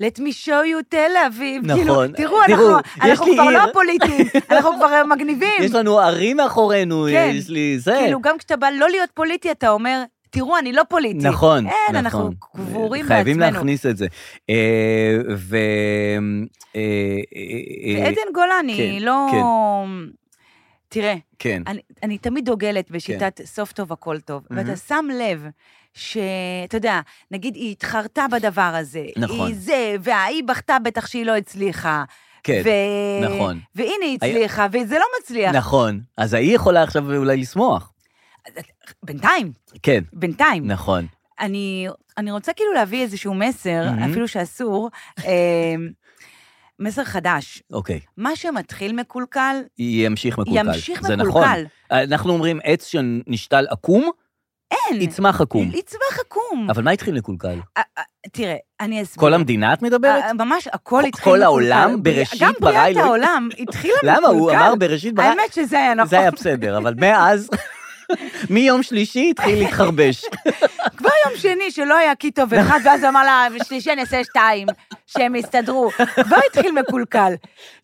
let me show you תל אביב.
נכון.
כאילו, תראו,
תראו,
אנחנו-
יש
אנחנו
לי
כבר
עיר.
לא פוליטיים, אנחנו כבר אה, מגניבים.
יש לנו ערים מאחורינו, אה,
כן.
יש לי זה.
כאילו, גם כשאתה בא לא להיות פוליטי, אתה אומר, תראו, אני לא פוליטי.
נכון,
אין,
נכון.
כן, אנחנו קבורים
חייבים
בעצמנו.
להכניס את זה. אה, ו... אה, אה, אה,
ועדן גולני,
כן,
לא...
כן.
תראה,
כן,
אני- אני תמיד דוגלת בשיטת סוף טוב, הכל טוב, ואתה שם לב שאתה יודע, נגיד היא התחרתה בדבר הזה,
נכון.
היא זה, וההיא בכתה בטח שהיא לא הצליחה.
כן,
ו-
נכון.
והנה היא הצליחה, וזה לא מצליח.
נכון. אז ההיא יכולה עכשיו אולי לשמוח.
בינתיים,
כן,
בינתיים.
נכון.
אני, אני רוצה כאילו להביא איזשהו מסר,
מהמם.
אפילו שאסור, אה, מסר חדש.
אוקיי.
מה שמתחיל מקולקל,
ימשיך מקולקל.
ימשיך
זה
מקולקל.
נכון. אנחנו אומרים עץ שנשתל עקום,
אין.
יצמח עקום.
יצמח עקום.
אבל מה התחיל לקולקל?
אה, אה, תראה, אני אסביר.
כל המדינה את מדברת?
אה, ממש, הכל
כל
התחיל
העולם?
מקולקל.
בראשית
גם
ברא
בריאת
אלוהים?
העולם התחילה מקולקל.
למה? הוא אמר בראשית ברא...
האמת שזה היה נכון.
זה היה בסדר, אבל מאז, מיום שלישי התחיל להתחרבש.
כבר יום שני שלא היה כי טוב אחד, ואז אמר לה, שלישי אני אעשה שתיים, שהם יסתדרו. כבר התחיל מקולקל.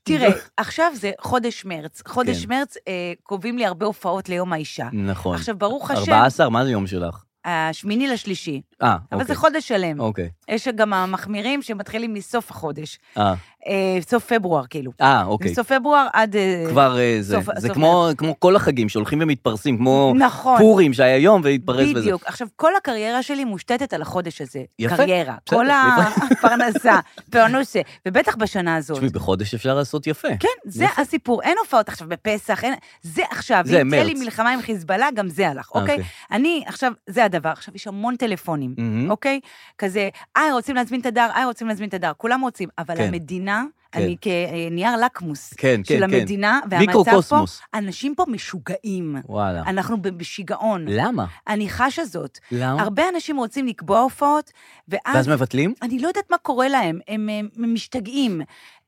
תראה, עכשיו זה חודש מרץ. חודש
כן.
מרץ אה, קובעים לי הרבה הופעות ליום האישה.
נכון.
עכשיו, ברוך השם,
14, מה זה יום שלך?
השמיני לשלישי.
אה,
אבל
אוקיי.
זה חודש שלם.
אוקיי.
יש גם המחמירים שמתחילים מסוף החודש.
אה,
אה, סוף פברואר, כאילו.
אה, אוקיי.
מסוף פברואר עד... אה,
כבר אה, זה.
סוף-
זה
סוף
כמו- כמו כל החגים שהולכים ומתפרסים, כמו
נכון.
פורים שהיה יום והתפרס בזה.
בדיוק. עכשיו, כל הקריירה שלי מושתתת על החודש הזה.
יפה.
קריירה.
בסדר,
כל
יפה.
הפרנסה, פרנוסה, ובטח בשנה הזאת.
תשמעי, בחודש אפשר לעשות יפה.
כן, זה
יפה.
הסיפור. אין הופעות עכשיו בפסח, אין... זה עכשיו.
זה
אם תהיה לי
מרץ.
מלחמה עם חיזבאללה, גם זה הלך,
אה,
אוקיי?
אוקיי.
אני, עכשיו, זה הדבר. עכשיו, יש המון טלפונים,
מהמם.
אוקיי? כזה, אה, רוצים להזמין את הדר, אה, רוצים להזמין את הדר. כולם רוצים, אבל
כן.
המדינה,
כן.
אני כנייר לקמוס.
כן, כן,
של
כן.
המדינה, והמצב פה,
מיקרוקוסמוס.
אנשים פה משוגעים.
וואלה.
אנחנו בשיגעון.
למה?
אני חשה זאת.
למה?
הרבה אנשים רוצים לקבוע הופעות,
ואז
ואז
מבטלים?
אני לא יודעת מה קורה להם, הם הם משתגעים.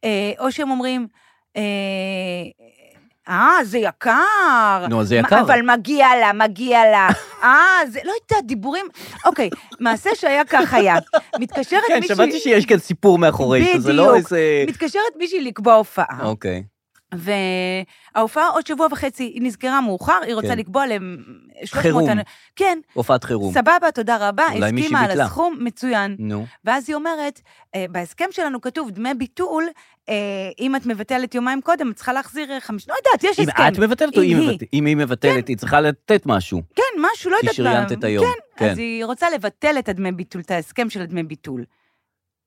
אה, או שהם אומרים, אה, אה, זה יקר.
נו, אז זה
מה-
יקר.
אבל מגיע לה, מגיע לה. אה, זה, לא יודעת, דיבורים... אוקיי, מעשה שהיה כך היה. מתקשרת
כן,
מישהי...
שמעתי שיש כאן סיפור מאחורי, שזה לא
בדיוק. אה.
איזה...
מתקשרת מישהי לקבוע הופעה.
אוקיי.
וההופעה עוד שבוע וחצי, היא נסגרה מאוחר, היא רוצה
כן.
לקבוע להם 300...
חירום.
אנ- כן,
הופעת חירום.
סבבה, תודה רבה,
אולי מישהי
הסכימה על
ביטלה.
הסכום, מצוין.
נו.
ואז היא אומרת, אה, בהסכם שלנו כתוב דמי ביטול, אה, אם את מבטלת יומיים קודם, את צריכה להחזיר אה, חמיש... לא יודעת, יש
אם
הסכם.
את מבטלת או
אם
היא
היא.
מבטלת? אם היא מבטלת, היא צריכה לתת משהו.
כן, משהו, לא
כי
יודעת
שריינת את היום.
כן, אז היא רוצה לבטל את הדמי ביטול, את ההסכם של הדמי ביטול.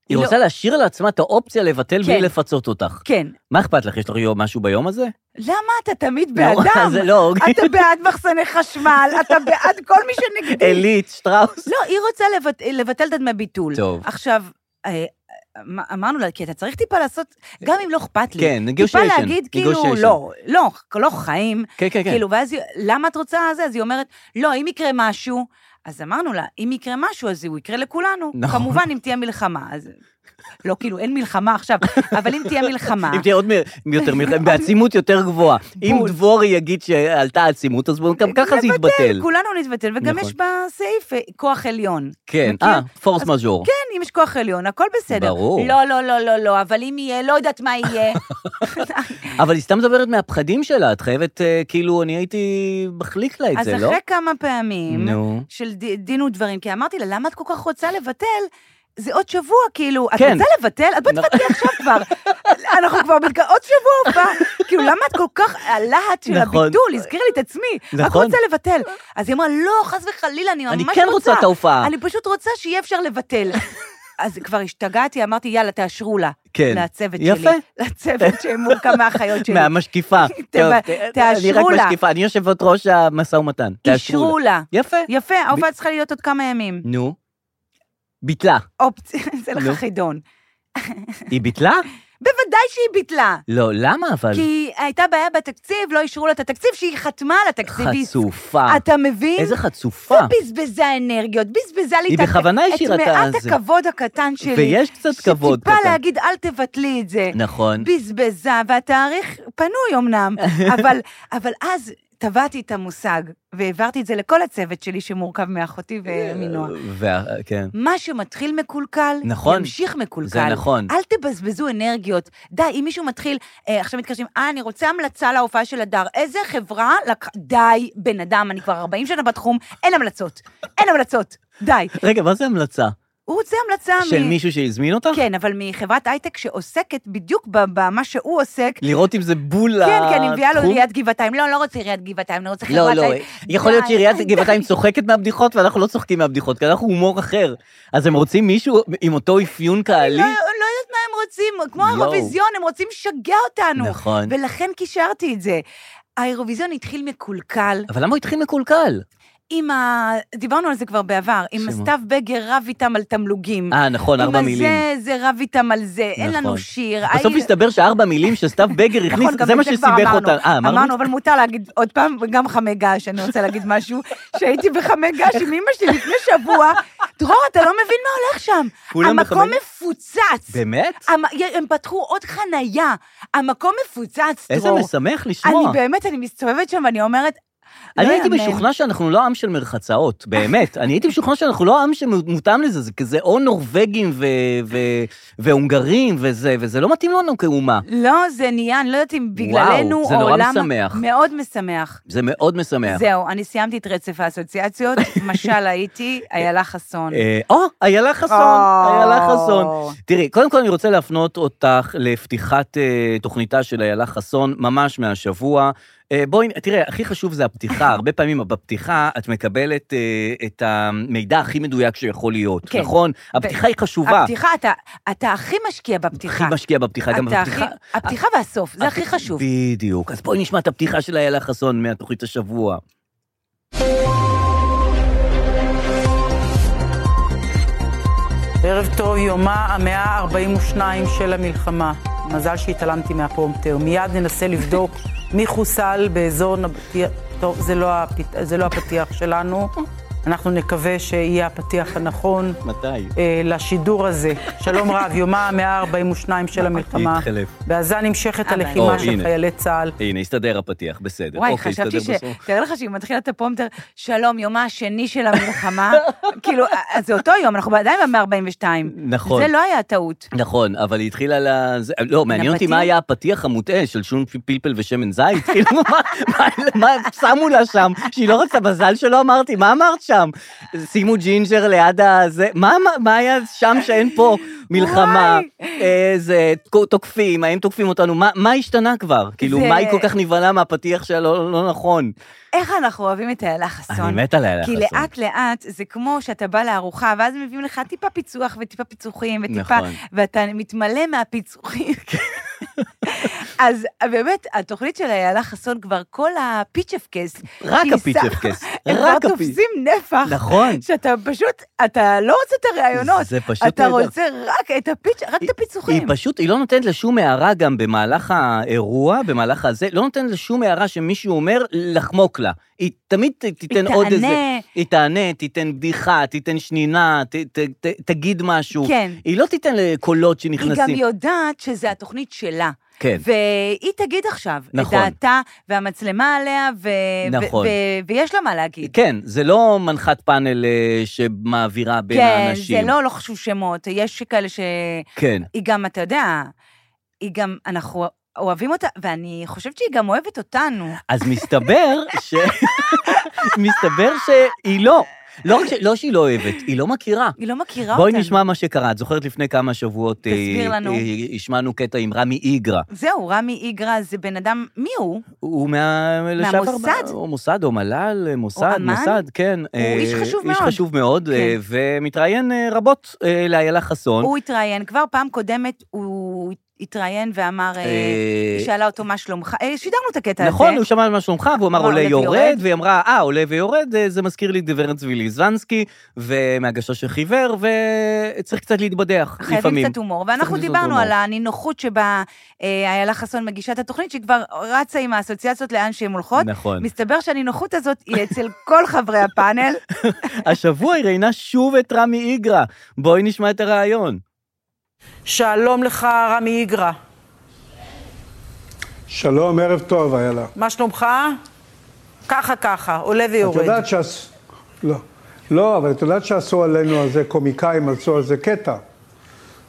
היא
לא.
רוצה להשאיר לעצמה את האופציה לבטל בלי
כן.
לפצות אותך.
כן.
מה אכפת לך? יש לך יום- משהו ביום הזה?
למה אתה תמיד
לא,
בעדם?
זה לא, אוקיי.
אתה בעד מחסני חשמל, אתה בעד כל מי שנגדי.
עילית, שטראוס.
לא, היא רוצה לבט... לבטל את הדמי ביטול.
טוב.
עכשיו, אה, אמ- אמרנו לה, כי אתה צריך טיפה לעשות, גם אם לא אכפת לי.
אה, כן,
טיפה
negotiation,
להגיד, כאילו,
negotiation.
לא, לא, לא חיים.
כן, כן,
כן.
כן.
כאילו, ואז היא, למה את רוצה זה? אז היא אומרת, לא, אם יקרה משהו, אז אמרנו לה, אם יקרה משהו, אז הוא יקרה לכולנו.
נכון.
נכון. כמובן, אם תהיה מלחמה, אז... לא, כאילו, אין מלחמה עכשיו, אבל אם תהיה מלחמה...
אם תהיה עוד מ- יותר מלחמת, בעצימות יותר גבוהה. אם
בול.
דבורי יגיד שעלתה עצימות, אז בואו, גם ככה זה יתבטל.
כולנו נתבטל, וגם
נכון.
יש בסעיף אה, כוח עליון.
כן,
מכיר?
אה, פורס
אז
מז'ור.
כן, אם יש כוח עליון, הכל בסדר.
ברור.
לא, לא, לא, לא, לא, אבל אם יהיה, לא יודעת מה יהיה. כן.
אבל היא סתם מדברת מהפחדים שלה, את חייבת, אה, כאילו, אני הייתי מחליק לה את
אז
זה, לא?
אחרי כמה פעמים
נו.
של ד- דין ודברים, כי אמרתי לה, למה את כל כך רוצה לבטל? זה עוד שבוע, כאילו, את
כן.
רוצה לבטל? את בואי תבטלי עכשיו כבר. אנחנו כבר מתק... עוד שבוע הבא. כאילו, למה את כל כך, הלהט של
נכון.
הביטול, הזכיר לי את עצמי. רק
נכון.
רוצה לבטל. אז היא אמרה, לא, חס וחלילה, אני ממש
אני
רוצה.
כן רוצה את ההופעה.
אני פשוט רוצה שיהיה אפשר לבטל. אז כבר השתגעתי, אמרתי, יאללה, תאשרו לה.
כן.
לצוות שלי.
יפה.
לצוות שמורכב מהאחיות שלי.
מהמשקיפה.
ת-
טוב, אני רק
תאשרו לה.
משקיפה, אני יושבת ראש המשא ומתן. תאשרו
אישרו לה.
יפה.
יפה, ההופעה צריכה להיות עוד כמה ימים.
נו. ביטלה.
אופציה, זה
נו.
לך חידון.
היא ביטלה?
בוודאי שהיא ביטלה.
לא, למה אבל?
כי הייתה בעיה בתקציב, לא אישרו לה את התקציב, שהיא חתמה על התקציביסט.
חצופה.
אתה מבין?
איזה חצופה.
בזבזה אנרגיות, בזבזה לי
היא
את ה-
בכוונה השאירה את
את מעט
הזה.
הכבוד הקטן שלי.
ויש קצת כבוד
שטיפה
קטן.
להגיד, אל תבטלי את זה.
נכון.
בזבזה, והתאריך פנוי אמנם, אבל, אבל אז טבעתי את המושג, והעברתי את זה לכל הצוות שלי שמורכב מאחותי
אה,
ומנועה.
וה- כן.
מה שמתחיל מקולקל,
נכון.
ימשיך מקולקל.
זה נכון.
אל תבזבזו אנרגיות. די, אם מישהו מתחיל, אה, עכשיו מתקשרים, אה, אני רוצה המלצה להופעה של הדר. איזה חברה לקח... די, בן אדם, אני כבר 40 שנה בתחום, אין המלצות. אין המלצות. די.
רגע, מה זה המלצה?
הוא רוצה המלצה
של מישהו שהזמין אותך?
כן, אבל מחברת הייטק שעוסקת בדיוק ב- במה שהוא עוסק.
לראות אם זה בול לתחום?
כן, כן, אני מביאה לו עיריית גבעתיים. לא, לא רוצה עיריית גבעתיים, אני רוצה חברת...
לא, לא,
הייטק.
יכול להיות
די,
שעיריית
די.
גבעתיים צוחקת מהבדיחות ואנחנו לא צוחקים מהבדיחות, כי אנחנו הומור אחר. אז הם רוצים מישהו עם אותו אפיון קהלי?
לא, לא יודעת מה הם רוצים, כמו
יואו.
האירוויזיון, הם רוצים לשגע אותנו.
נכון.
ולכן קישרתי את זה. האירוויזיון התחיל מקולקל,
אבל למה הוא התחיל מקולקל?
עם ה... דיברנו על זה כבר בעבר, עם
שמה?
הסתיו בגר רב איתם על תמלוגים.
אה, נכון, ארבע מילים.
עם הזה, זה רב איתם על זה, אין
נכון.
לנו שיר.
בסוף
ההיא-
הסתבר שארבע מילים שסתיו בגר הכניס,
נכון, גם
זה
את
מה
כבר
שסיבך
אמרנו.
אותנו. אה,
אמרנו, אבל מותר להגיד עוד פעם, וגם חמי געש, אני רוצה להגיד משהו, שהייתי בחמי געש עם אמא שלי לפני שבוע. דרור, אתה לא מבין מה הולך שם.
כולם
המקום
בחמי-
מפוצץ.
באמת?
המ... הם פתחו עוד חנייה, המקום מפוצץ,
איזה
דרור.
משמח לשמוע.
אני באמת, אני מסתובבת שם ואני אומרת, לא
אני הייתי
יאמן.
משוכנע שאנחנו לא עם של מרחצאות, באמת. אני הייתי משוכנע שאנחנו לא עם שמותאם לזה, זה כזה או נורבגים ו- ו- והונגרים וזה, וזה לא מתאים לנו כאומה.
לא, זה נהיה, אני לא יודעת אם בגללנו
וואו, זה
או
נורא
למה.
משמח.
מאוד משמח.
זה מאוד משמח.
זהו, אני סיימתי את רצף האסוציאציות, משל הייתי איילה חסון. אה,
אה, או, איילה חסון,
או.
איילה חסון. תראי, קודם כל אני רוצה להפנות אותך לפתיחת אה, תוכניתה של איילה חסון, ממש מהשבוע. אה, בואי, תראה, הכי חשוב זה הפתיחה. הרבה פעמים בפתיחה את מקבלת אה, את המידע הכי מדויק שיכול להיות,
כן.
נכון? הפתיחה היא חשובה.
הפתיחה, אתה- אתה הכי משקיע
הכי
בפתיחה.
משקיע בפתיחה, גם
אתה הכי-
בפתיחה.
הפתיחה והסוף, זה הכי חשוב.
בדיוק. אז בואי נשמע את הפתיחה של איילה חסון מהתוכנית השבוע.
אה.
ערב טוב, יומה המאה ה-42 של המלחמה. מזל שהתעלמתי מהפרומטר. מיד ננסה לבדוק מי חוסל באזור נבטיח... טוב, זה לא, הפת... זה לא הפתיח שלנו. אנחנו נקווה שיהיה הפתיח הנכון
מתי?
אה, לשידור הזה. שלום רב, יומה המאה ה-42 של המלחמה.
התחלף.
בעזה נמשכת
אה,
הלחימה
או,
של
הנה.
חיילי צה"ל.
הנה, הסתדר הפתיח, בסדר.
וואי,
אוקיי,
חשבתי ש...
הסתדר בסוף.
תאר לך שהיא מתחילה את הפרומטר, שלום, יומה השני של המלחמה. כאילו, אז זה אותו יום, אנחנו עדיין במאה 42.
נכון.
זה לא היה טעות.
נכון, אבל היא התחילה ל... זה- לא, מעניין אותי
הפתיח?
מה היה הפתיח המוטעה של שום פ- פלפל ושמן זית, כאילו, מה- מה- מה שמו לה שם, שהיא לא רצתה בזל שלא אמרתי, מה אמרת שם? שימו ג'ינג'ר ליד הזה, מה- מה- מה היה שם שאין פה מלחמה? אה, זה תקו- תוקפים, האם תוקפים אותנו, מה- מה השתנה כבר? כאילו,
זה-
מה היא כל כך נבהלה מהפתיח שלא לא נכון?
איך אנחנו אוהבים את איילה חסון.
אני מת עליה,
כי
חסון.
לאט-לאט זה כמו שאתה בא לארוחה, ואז מביאים לך טיפה פיצוח וטיפה פיצוחים, וטיפה...
נכון.
ואתה מתמלא מהפיצוחים. אז באמת, התוכנית של איילה חסון כבר כל הפיצ'פקס.
רק
שהיא
הפיצ'פקס,
שמה, הם
רק
כבר
הפיצ'פקס.
תופסים נפח.
נכון.
שאתה פשוט, אתה לא רוצה את הראיונות.
זה פשוט
אתה
נהדר.
רוצה רק את הפיצ'... רק את
היא
הפיצוחים.
פשוט, היא לא נותנת לה שום הערה גם במהלך האירוע, במהלך הזה, לא נותנת לה שום הערה שמישהו אומר לחמוק לה. היא תמיד ת- תיתן
היא
עוד
תענה.
איזה... היא תענה, תיתן בדיחה, תיתן שנינה, ת, ת, ת, תגיד משהו.
כן.
היא לא תיתן לקולות
היא
שנכנסים.
גם יודעת שזו התוכנית שלה.
כן.
והיא תגיד עכשיו את
נכון.
דעתה, והמצלמה עליה, ו...
נכון.
ו... ו... ויש לה מה להגיד.
כן, זה לא מנחת פאנל אה, שמעבירה בין
כן,
האנשים.
זה לא לא חשוב שמות, יש כאלה ש...
כן.
היא גם, אתה יודע, היא גם, אנחנו אוהבים אותה, ואני חושבת שהיא גם אוהבת אותנו.
אז מסתבר ש... מסתבר שהיא לא. לא, רק ש... לא שהיא לא אוהבת, היא לא מכירה.
היא לא מכירה אותנו.
בואי נשמע מה שקרה. את זוכרת לפני כמה שבועות...
תסביר
אה,
לנו.
אה, השמענו קטע עם רמי איגרא.
זהו, רמי איגרא זה בן אדם, מי הוא?
הוא מה... לשעבר-
מהמוסד?
הוא מוסד או מל"ל, אה, מוסד,
אמן?
מוסד, כן. הוא
איש חשוב
איש
מאוד.
חשוב מאוד, אה,
כן.
ומתראיין אה, רבות אה, לאיילה חסון.
הוא התראיין, כבר פעם קודמת הוא התראיין ואמר, אה,
אה,
היא שאלה אותו מה שלומך, אה, שידרנו את הקטע הזה.
נכון, הוא שמע על מה שלומך, והוא אמר
אמר,
עולה
לא, "עולה
יורד,
ויורד."
והיא אמרה, אה, עולה ויורד, אה, זה מזכיר לי את גברת צבי ליזנסקי, ומהגשש שחיוור, וצריך קצת להתבדח לפעמים.
חייבים קצת הומור, ואנחנו
קצת
דיברנו
הומור.
על הנינוחות שבה אה, איילה חסון מגישה את התוכנית, שהיא כבר רצה עם האסוציאציות לאן שהן הולכות.
נכון.
מסתבר שהנינוחות הזאת היא אצל כל חברי הפאנל.
השבוע היא ראיינה שוב את רמי איגרא. בואי נשמע את הראיון.
שלום לך, רמי איגרא.
שלום, ערב טוב, איילה.
מה שלומך? ככה ככה, עולה
את
ויורד.
יודעת שעשו... לא. לא, אבל את יודעת שעשו עלינו על זה, קומיקאים עשו על זה קטע.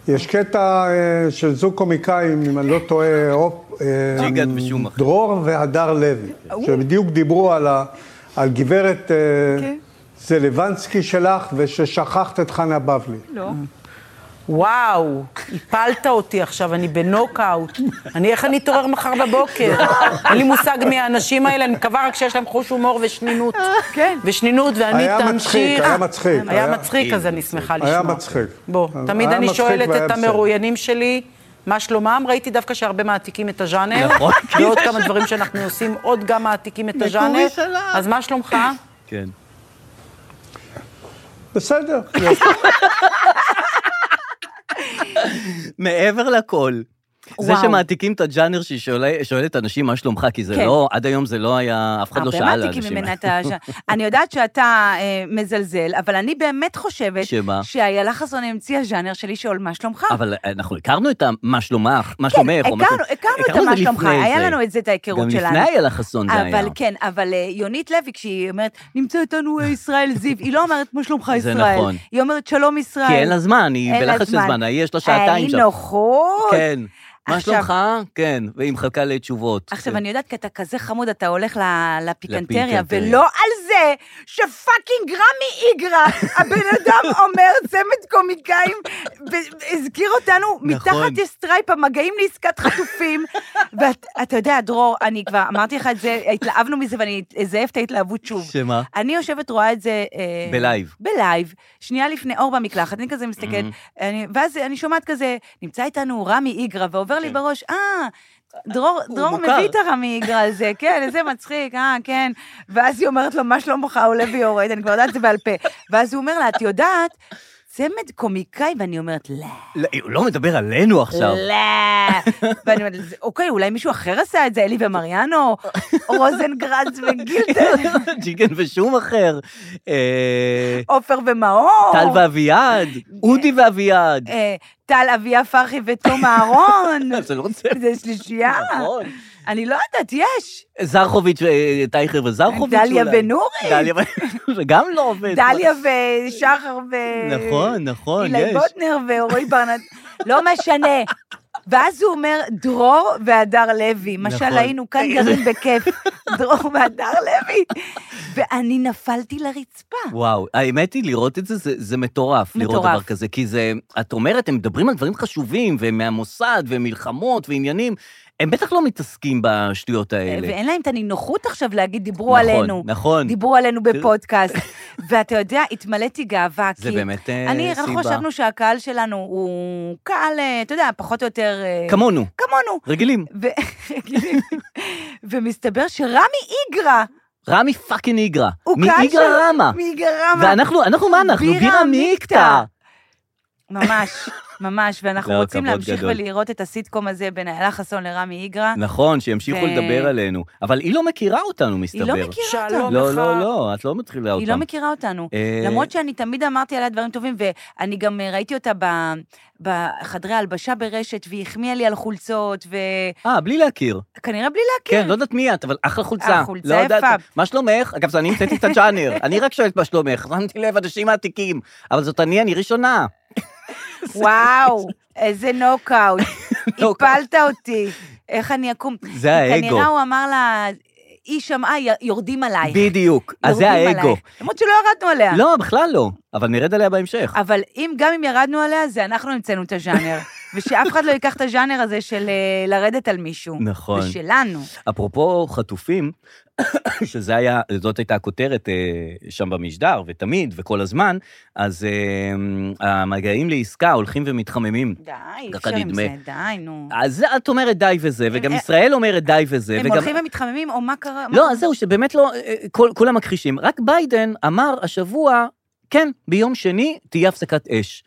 יש קטע אה, של זוג קומיקאים, אם אני לא טועה, אופ- אה,
ג'יגד ושומאך.
דרור והדר לוי, שבדיוק דיברו על, ה, על גברת אה, זלבנסקי שלך וששכחת את חנה בבלי.
לא.
וואו, הפלת אותי עכשיו, אני בנוקאוט. אני, איך אני אתעורר מחר בבוקר? אין לי מושג מי האנשים האלה, אני מקווה רק שיש להם חוש הומור ושנינות.
כן.
ושנינות, ואני
היה מצחיק,
תמשיך...
היה מצחיק,
היה
היה-
מצחיק, אז אני שמחה לשמוע.
היה מצחיק.
בוא,
היה
תמיד אני
מצחיק
שואלת
והיה
את
בסדר.
המרואיינים שלי, מה שלומם? ראיתי דווקא שהרבה מעתיקים את הז'אנר.
נכון.
ועוד כמה דברים שאנחנו עושים, עוד גם מעתיקים את הז'אנר. אז מה שלומך?
כן.
בסדר.
מעבר לכל, זה
וואו.
שמעתיקים את הג'אנר שהיא שואלה- שואלת אנשים מה שלומך, כי זה
כן.
לא, עד היום זה לא היה, אף אחד לא שאל
הרבה מעתיקים
לאנשים.
ממנה את ה... אני יודעת שאתה אה, מזלזל, אבל אני באמת חושבת...
שמה?
שאיילה חסון המציאה ז'אנר שלי לשאול מה שלומך.
אבל אה, אנחנו הכרנו את ה"מה שלומך", מה שלומך, או מה
כן, הכרנו,
של-
הכרנו את
הכרנו
ה"מה
זה
שלומך",
לפני
היה
זה.
לנו את זה, את ההיכרות שלנו.
גם לפני היה לך חסון זה היה.
אבל כן, אבל אה, יונית לוי, כשהיא אומרת, נמצא איתנו אה, ישראל זיו, היא לא אומרת, מה שלומך
זה
ישראל?
נכון.
היא אומרת, שלום ישראל.
כי אין לה זמן, היא
אין לה אה,
בלחץ של זמן, ההיא יש לה שעתיים
היא
שם.
נוחות.
כן. מה
עכשיו-
שלומך? כן, והיא מחכה לתשובות.
עכשיו,
כן.
אני יודעת, כי אתה כזה חמוד, אתה הולך ל- לפיקנטריה,
לפיקנטריה.
ולא על זה שפאקינג רמי איגרא, הבן אדם אומר, צמד קומיקאים, ב- הזכיר אותנו מתחת לסטרייפ, המגעים לעסקת חטופים. ואתה יודע, דרור, אני כבר אמרתי לך את זה, התלהבנו מזה, ואני אזייף את ההתלהבות שוב.
שמה?
אני יושבת, רואה את זה... אה,
בלייב.
בלייב, שנייה לפני אור במקלחת, אני כזה מסתכלת, אני- ואז אני שומעת כזה, נמצא איתנו רמי איגרא, ועובר לי בראש, אה... דרור, דרור
כן. מוכר."
מביא את הרמי איגרא הזה, כן, איזה מצחיק, אה, כן. ואז היא אומרת לו, מה שלומך, עולה ויורד, אני כבר יודעת את זה בעל פה. ואז הוא אומר לה, את יודעת, צמד קומיקאי, ואני אומרת, לא,
לא, הוא לא מדבר עלינו עכשיו.
לא. ואני אומרת, "זה- אוקיי, אולי מישהו אחר עשה את זה, אלי ומריאנו, רוזנגרץ וגילטר,
ג'יגן ושום אחר. אה,
עופר ומאור.
טל ואביעד, אודי ואביעד.
אה, טל אביה פרחי ותום אהרון.
זה לא זה.
זה שלישייה.
נכון.
אני לא יודעת, יש.
זרחוביץ', אה, טייכר וזרחוביץ'
דליה
אולי.
ונורית.
דליה ונורית. זה גם לא עובד.
דליה ושחר ו...
נכון, נכון,
אילי
יש.
בוטנר ואורי ברנת, לא משנה. ואז הוא אומר, דרור והדר לוי, משל
נכון.
היינו כאן גרים בכיף, דרור והדר לוי. ואני נפלתי לרצפה.
וואו, האמת היא, לראות את זה, זה, זה מטורף, לראות
מטורף.
דבר כזה, כי זה, את אומרת, הם מדברים על דברים חשובים, והם מהמוסד, ומלחמות, ועניינים, הם בטח לא מתעסקים בשטויות האלה.
אה, ואין להם את הנינוחות עכשיו להגיד, דיברו
נכון,
עלינו.
נכון.
דיברו עלינו בפודקאסט. ואתה יודע, התמלאתי גאווה, כי...
זה באמת אה,
אני,
סיבה.
אנחנו חשבנו שהקהל שלנו הוא קהל, אה, אתה יודע, פחות או יותר... אה,
כמונו,
כמונו.
רגילים.
ו- ומסתבר שרמי איגרא
רמי פאקינג איגרא.
הוא קהל של...
מאיגרא רמה.
מאיגרא רמה.
ואנחנו, אנחנו מה אנחנו?
בירה
בירה מיקטה.
ממש, ממש, ואנחנו
לא,
רוצים
כבוד
גדול.
גדול.
ולראות את הסיטקום הזה בין איילה חסון לרמי איגרא.
נכון, שימשיכו
ו-
לדבר עלינו. אבל היא לא מכירה אותנו, מסתבר.
היא לא מכירה
שלום.
אותנו.
לא,
לך.
לא, לא, את לא מתחילה אותם.
היא לא מכירה אותנו.
אה,
למרות שאני תמיד אמרתי עליה דברים טובים, ואני גם אה, ראיתי אותה ב- בחדרי הלבשה ברשת, והיא החמיאה לי על חולצות, וכנראה
אה, בלי להכיר.
בלי להכיר.
כן, לא יודעת מי את, אבל אחלה חולצה.
אה, חולצה
לא יודעת-
יפה.
מה שלומך? אגב, זה אני המצאתי את הג'אנר, אני רק שואלת מה שלומך. שמתי לב, אנשים עתיקים, אבל זאת אני, אני ראשונה.
וואו, איזה נוקאוט.
נוקאוט.
הפלת אותי. איך אני אקום.
זה האגו.
כנראה הוא אמר לה, היא שמעה, י- יורדים עלייך.
בדיוק, אז זה
יורדים
האגו.
אה, עלייך." אה. למרות שלא ירדנו עליה.
לא, בכלל לא, אבל נרד עליה בהמשך.
אבל אם, גם אם ירדנו עליה, זה אנחנו המצאנו את הז'אנר. ושאף אחד לא ייקח את הז'אנר הזה של אה, לרדת על מישהו.
נכון.
זה שלנו.
אפרופו חטופים, שזה היה, זאת הייתה הכותרת אה, שם במשדר, ותמיד, וכל הזמן, אז אה, המגעים לעסקה הולכים ומתחממים.
די, אי
ככה
אפשר עם
נדמה.
זה, די, נו.
אז את אומרת די וזה, וגם
אה,
ישראל אומרת די וזה,
הם
וגם...
הולכים ומתחממים, או מה קרה? מה-
לא, אז זהו, שבאמת לא, אה, כל, כולם מכחישים. רק ביידן אמר השבוע, כן, ביום שני תהיה הפסקת אש.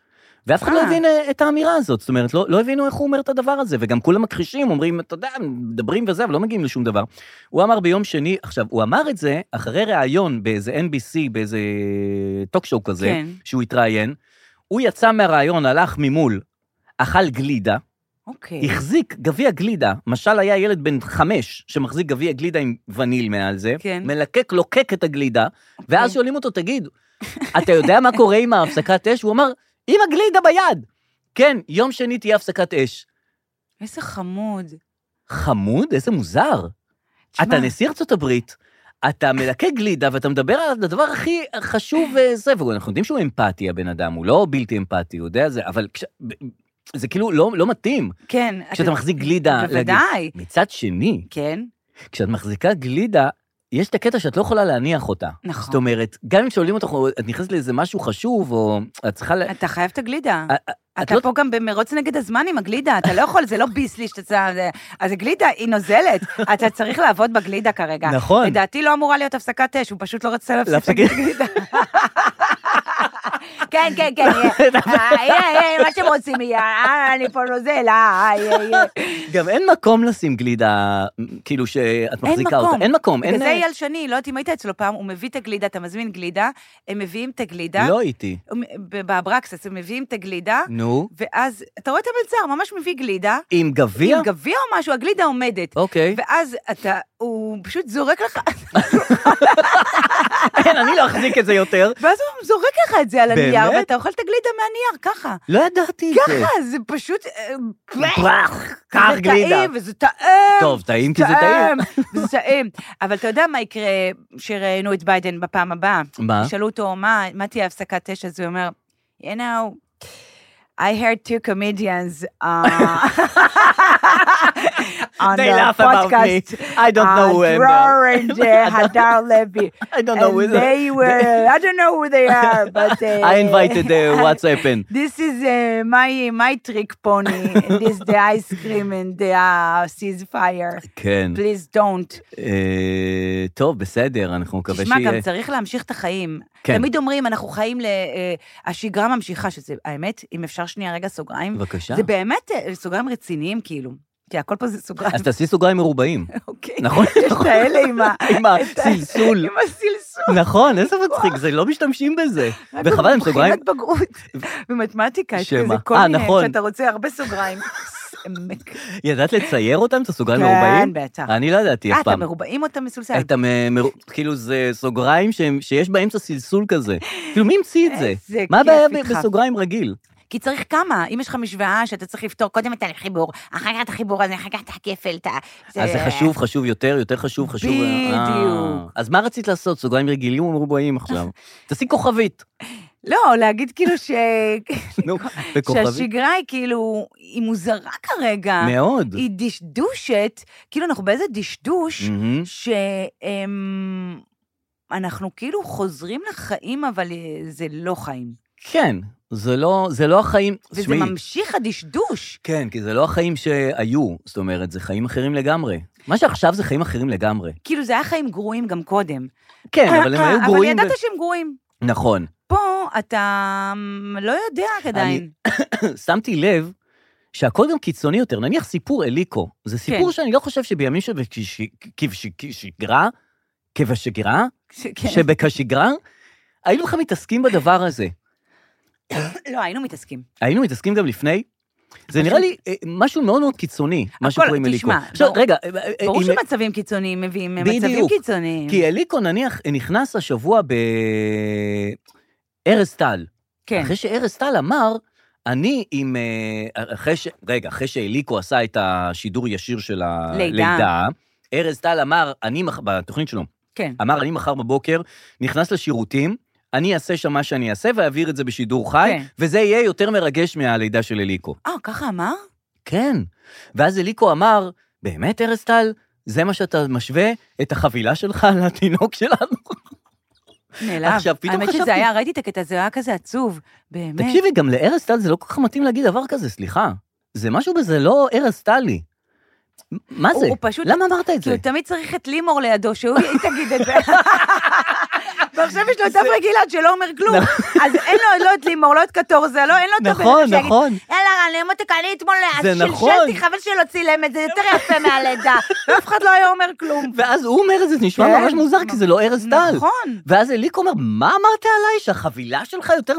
ואף אחד לא
אה.
הבין אה, את האמירה הזאת, זאת אומרת, לא, לא הבינו איך הוא אומר את הדבר הזה, וגם כולם מכחישים, אומרים, אתה יודע, מדברים וזה, אבל לא מגיעים לשום דבר. הוא אמר ביום שני, עכשיו, הוא אמר את זה אחרי ראיון באיזה NBC, באיזה טוק שואו כזה,
כן.
שהוא התראיין, הוא יצא מהראיון, הלך ממול, אכל גלידה,
אוקיי.
החזיק גביע גלידה, משל היה ילד בן חמש שמחזיק גביע גלידה עם וניל מעל זה,
כן.
מלקק, לוקק את הגלידה, ואז
אוקיי.
שואלים אותו, תגיד, אתה יודע מה קורה עם ההפסקת אש? הוא אמר, עם הגלידה ביד. כן, יום שני תהיה הפסקת אש.
איזה חמוד.
חמוד, איזה מוזר.
תשמע,
אתה נשיא ארצות הברית, אתה מלקק גלידה ואתה מדבר על הדבר הכי חשוב אה, זה, ואנחנו יודעים שהוא אמפתי הבן אדם, הוא לא בלתי אמפתי, הוא יודע זה, אבל כש... זה כאילו לא, לא מתאים,
כן.
כשאתה
אתה-
מחזיק גלידה. להגיד-
בוודאי.
מצד שני,
כן,
כשאת מחזיקה גלידה, יש את הקטע שאת לא יכולה להניח אותה.
נכון.
זאת אומרת, גם אם שואלים אותך, או את נכנסת לאיזה משהו חשוב, או את צריכה... ל-
אתה חייב את הגלידה.
אה, אה, את
אתה
לא-
פה גם במרוץ נגד הזמן עם הגלידה, אתה לא יכול, זה לא ביסלי שאתה צריך... זה- אז הגלידה, היא נוזלת. אתה צריך לעבוד בגלידה כרגע.
נכון.
לדעתי לא אמורה להיות הפסקת אש, הוא פשוט לא רצה להפסיק את
להפסיק.
הגלידה. כן, כן, כן, כן, אה, אה, אה, מה שהם רוצים יהיה, אה, אני פה נוזל, אה, אה, אה.
גם אין מקום לשים גלידה, כאילו שאת
אין
מחזיקה
מקום.
אותה. אין מקום. אין
בגלל זה
אה,
אייל שני, לא יודעת אם היית אצלו פעם, הוא מביא את הגלידה, אתה מזמין גלידה, הם מביאים את הגלידה.
לא הייתי.
ב- באברקסס, הם מביאים את הגלידה,
נו.
ואז, אתה רואה את המלצר, ממש מביא גלידה.
עם גביע?
עם גביע או משהו, הגלידה עומדת.
אוקיי.
ואז אתה, הוא פשוט זורק לך,
אין, אני לא אחזיק את זה יותר.
ואז הוא זורק לך את זה על הנייר,
באמת?
ואתה אוכל את הגלידה מהנייר, ככה.
לא ידעתי את זה.
ככה, זה פשוט... אה,
ברח, קח
זה
גלידה.
טעים, וזה טעים.
טוב, טעים כי זה טעים.
זה טעים. אבל אתה יודע מה יקרה כשראיינו את ביידן בפעם הבאה?
מה?
שאלו אותו, מה, מה תהיה הפסקת אש? אז הוא אומר, you know, I heard two comedians uh, on
They
the
laugh about me.
podcast.
I don't know who
uh,
am
Dror and
I
uh,
don't-
Hadar Levy.
I don't know
and
who they-
they were, I don't know who they are, but... Uh,
I invited uh, what's happened.
This is uh, my my trick pony. this the ice cream and the uh, ceasefire.
כן.
Please don't.
אה, טוב, בסדר, אנחנו נקווה
תשמע, גם
שיהיה...
צריך להמשיך את החיים.
כן.
תמיד אומרים, אנחנו חיים ל... אה, השגרה ממשיכה, שזה, האמת, אם אפשר שנייה רגע סוגריים.
בבקשה.
זה באמת אה, סוגריים רציניים, כאילו. כי הכל פה זה סוגריים.
אז תעשי סוגריים מרובעים.
אוקיי.
נכון,
יש את האלה עם ה...
עם הסלסול.
עם הסלסול.
נכון, איזה מצחיק, זה לא משתמשים בזה.
אה,
וחבל, הם סוגריים...
מבחינת בגרות. במתמטיקה, יש
שמה?
כזה כל
אה,
מיני,
נכון.
שאתה רוצה הרבה סוגריים. עמק.
ידעת לצייר אותם, את הסוגריים
כן,
מרובעים?
בטח.
אני לא ידעתי אף
אה, אתה
פעם.
מרובעים או אתה מסולסל?
את המר... כאילו זה סוגריים שהם, שיש באמצע סלסול כזה. כאילו מי המציא את זה?
איזה
מה הבעיה
כיף
ב-
איתך.
בסוגריים רגיל?
כי צריך כמה. אם יש לך משוואה שאתה צריך לפתור קודם את החיבור, אחר כך את החיבור הזה, אחר כך את הכפל, את ה...
אז זה חשוב, חשוב יותר, יותר חשוב, חשוב... אה,
בדיוק.
אז מה רצית לעשות? סוגריים רגילים או מרובעים עכשיו? תעשי כוכבית.
לא, להגיד כאילו ש...
נו, בכוכבית.
שהשגרה היא כאילו, היא מוזרה כרגע.
מאוד.
היא דשדושת, כאילו אנחנו באיזה דשדוש,
מהמם.
שאנחנו כאילו חוזרים לחיים, אבל אה, זה לא חיים.
כן, זה לא, זה לא החיים...
וזה
תשמעי,
ממשיך הדשדוש.
כן, כי זה לא החיים שהיו, זאת אומרת, זה חיים אחרים לגמרי. מה שעכשיו זה חיים אחרים לגמרי.
כאילו זה היה חיים גרועים גם קודם.
כן, אבל הם היו גרועים...
אה, אבל ידעת
ו-
שהם גרועים.
נכון.
פה אתה מ, לא יודע עדיין.
שמתי לב שהכל גם קיצוני יותר. נניח סיפור אליקו, זה סיפור
כן.
שאני לא חושב שבימים שבשגרה, כבשגרה,
ש- כן.
שבכשגרה, היינו בכלל מתעסקים בדבר הזה.
לא, היינו מתעסקים.
היינו מתעסקים גם לפני. זה נראה לי אה, משהו מאוד מאוד קיצוני, מה שקורה עם אליקו.
תשמע,
עכשיו,
ברור-
רגע, אה, אה,
ברור
אם-
שמצבים קיצוניים מביאים אה, מצבים
בדיוק.
קיצוניים.
כי אליקו נניח נכנס השבוע בארז טל.
כן.
אחרי שארז טל אמר, אני עם... אה, אחרי ש... רגע, אחרי שאליקו עשה את השידור ישיר של
לידה.
הלידה, ארז טל אמר, אני, מח- בתוכנית שלו,
כן.
אמר, אני מחר בבוקר נכנס לשירותים, אני אעשה שם מה שאני אעשה ואעביר את זה בשידור חי,
כן.
וזה יהיה יותר מרגש מהלידה של אליקו.
אה, ככה אמר?
כן. ואז אליקו אמר, באמת, ארז טל? זה מה שאתה משווה את החבילה שלך לתינוק שלנו?
נעלב.
עכשיו, פתאום
האמת שזה
חשבתי-
היה, ראיתי את הקטע, זה היה כזה עצוב. באמת.
תקשיבי, גם לארז טל זה לא כל כך מתאים להגיד דבר כזה, סליחה. זה משהו בזה לא ארז טלי. מ- מה
הוא-
זה?
הוא פשוט-
למה אמרת את
כי
זה?
הוא תמיד צריך את לימור לידו, שהוא תגיד את זה. ועכשיו יש לו את אברי גלעד שלא אומר כלום. אז אין לו לא את לימור, לא את קטורזה, לא, אין לו את הבן
נכון,
אדם שיגיד,
נכון.
יאללה, רן, מותק, אני אתמול אז
זה נכון.
שלשלתי, חבל שלא צילם את זה, יותר יפה מהלידה. ואף אחד לא היה אומר כלום.
ואז הוא אומר את זה, זה נשמע
כן.
ממש מוזר, כי זה לא ארז טל.
נכון.
ואז אליקו אומר, מה אמרת עליי? שהחבילה שלך יותר...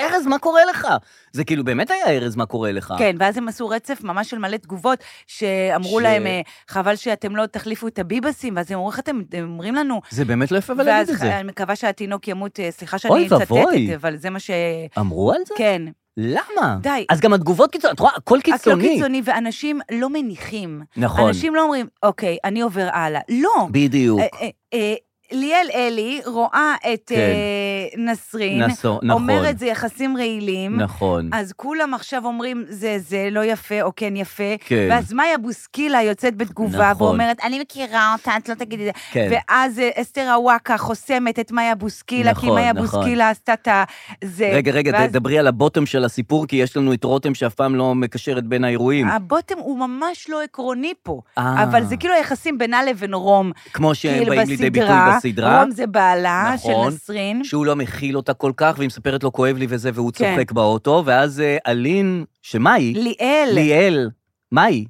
ארז, מה קורה לך? זה כאילו באמת היה ארז, מה קורה לך?
כן, ואז הם עשו רצף ממש של מלא תגובות, שאמרו
ש-
להם, אה, חבל שאתם לא תחליפו את הביבסים, ואז הם אמרו, איך אתם אתם אומרים לנו?
זה באמת לא יפה אבל
ואז
להגיד את זה.
אני מקווה שהתינוק ימות, אה, סליחה
אוי
שאני מצטטת,
ואבוי. אה,
אבל זה מה ש...
אמרו על זה?
כן.
למה?
די.
אז גם התגובות קיצוניות, את רואה, הכל
הכל
קיצוני.
קיצוני, ואנשים לא מניחים.
נכון.
אנשים לא אומרים, אוקיי, אני עובר הלאה. לא.
בדיוק.
אה, אה, אה, ליאל אלי רואה את
כן.
אה, נסרין,
נסו- נכון.
אומרת זה יחסים רעילים.
נכון.
אז כולם עכשיו אומרים, זה זה לא יפה או כן יפה.
כן.
ואז מאיה בוסקילה יוצאת בתגובה
נכון.
ואומרת, אני מכירה אותה, את לא תגידי את זה.
כן.
ואז אה, אסתר הוואקה חוסמת את מאיה בוסקילה, כי
נכון,
מאיה
נכון.
בוסקילה עשתה את ה... זה.
רגע, רגע,
ואז
תדברי על הבוטום של הסיפור, כי יש לנו את רותם שאף פעם לא מקשרת בין האירועים.
הבוטם הוא ממש לא עקרוני פה,
אה.
אבל זה כאילו היחסים בינה לבין רום.
כמו שהם
כאילו
באים לידי ביטוי
בסדרה,
בסדרה.
רום זה בעלה
נכון,
של נסרין.
שהוא לא מכיל אותה כל כך, והיא מספרת לו, כואב לי וזה, והוא
כן.
צוחק באוטו, ואז אה, אלין, שמה היא?
ליאל.
ליאל. מה היא?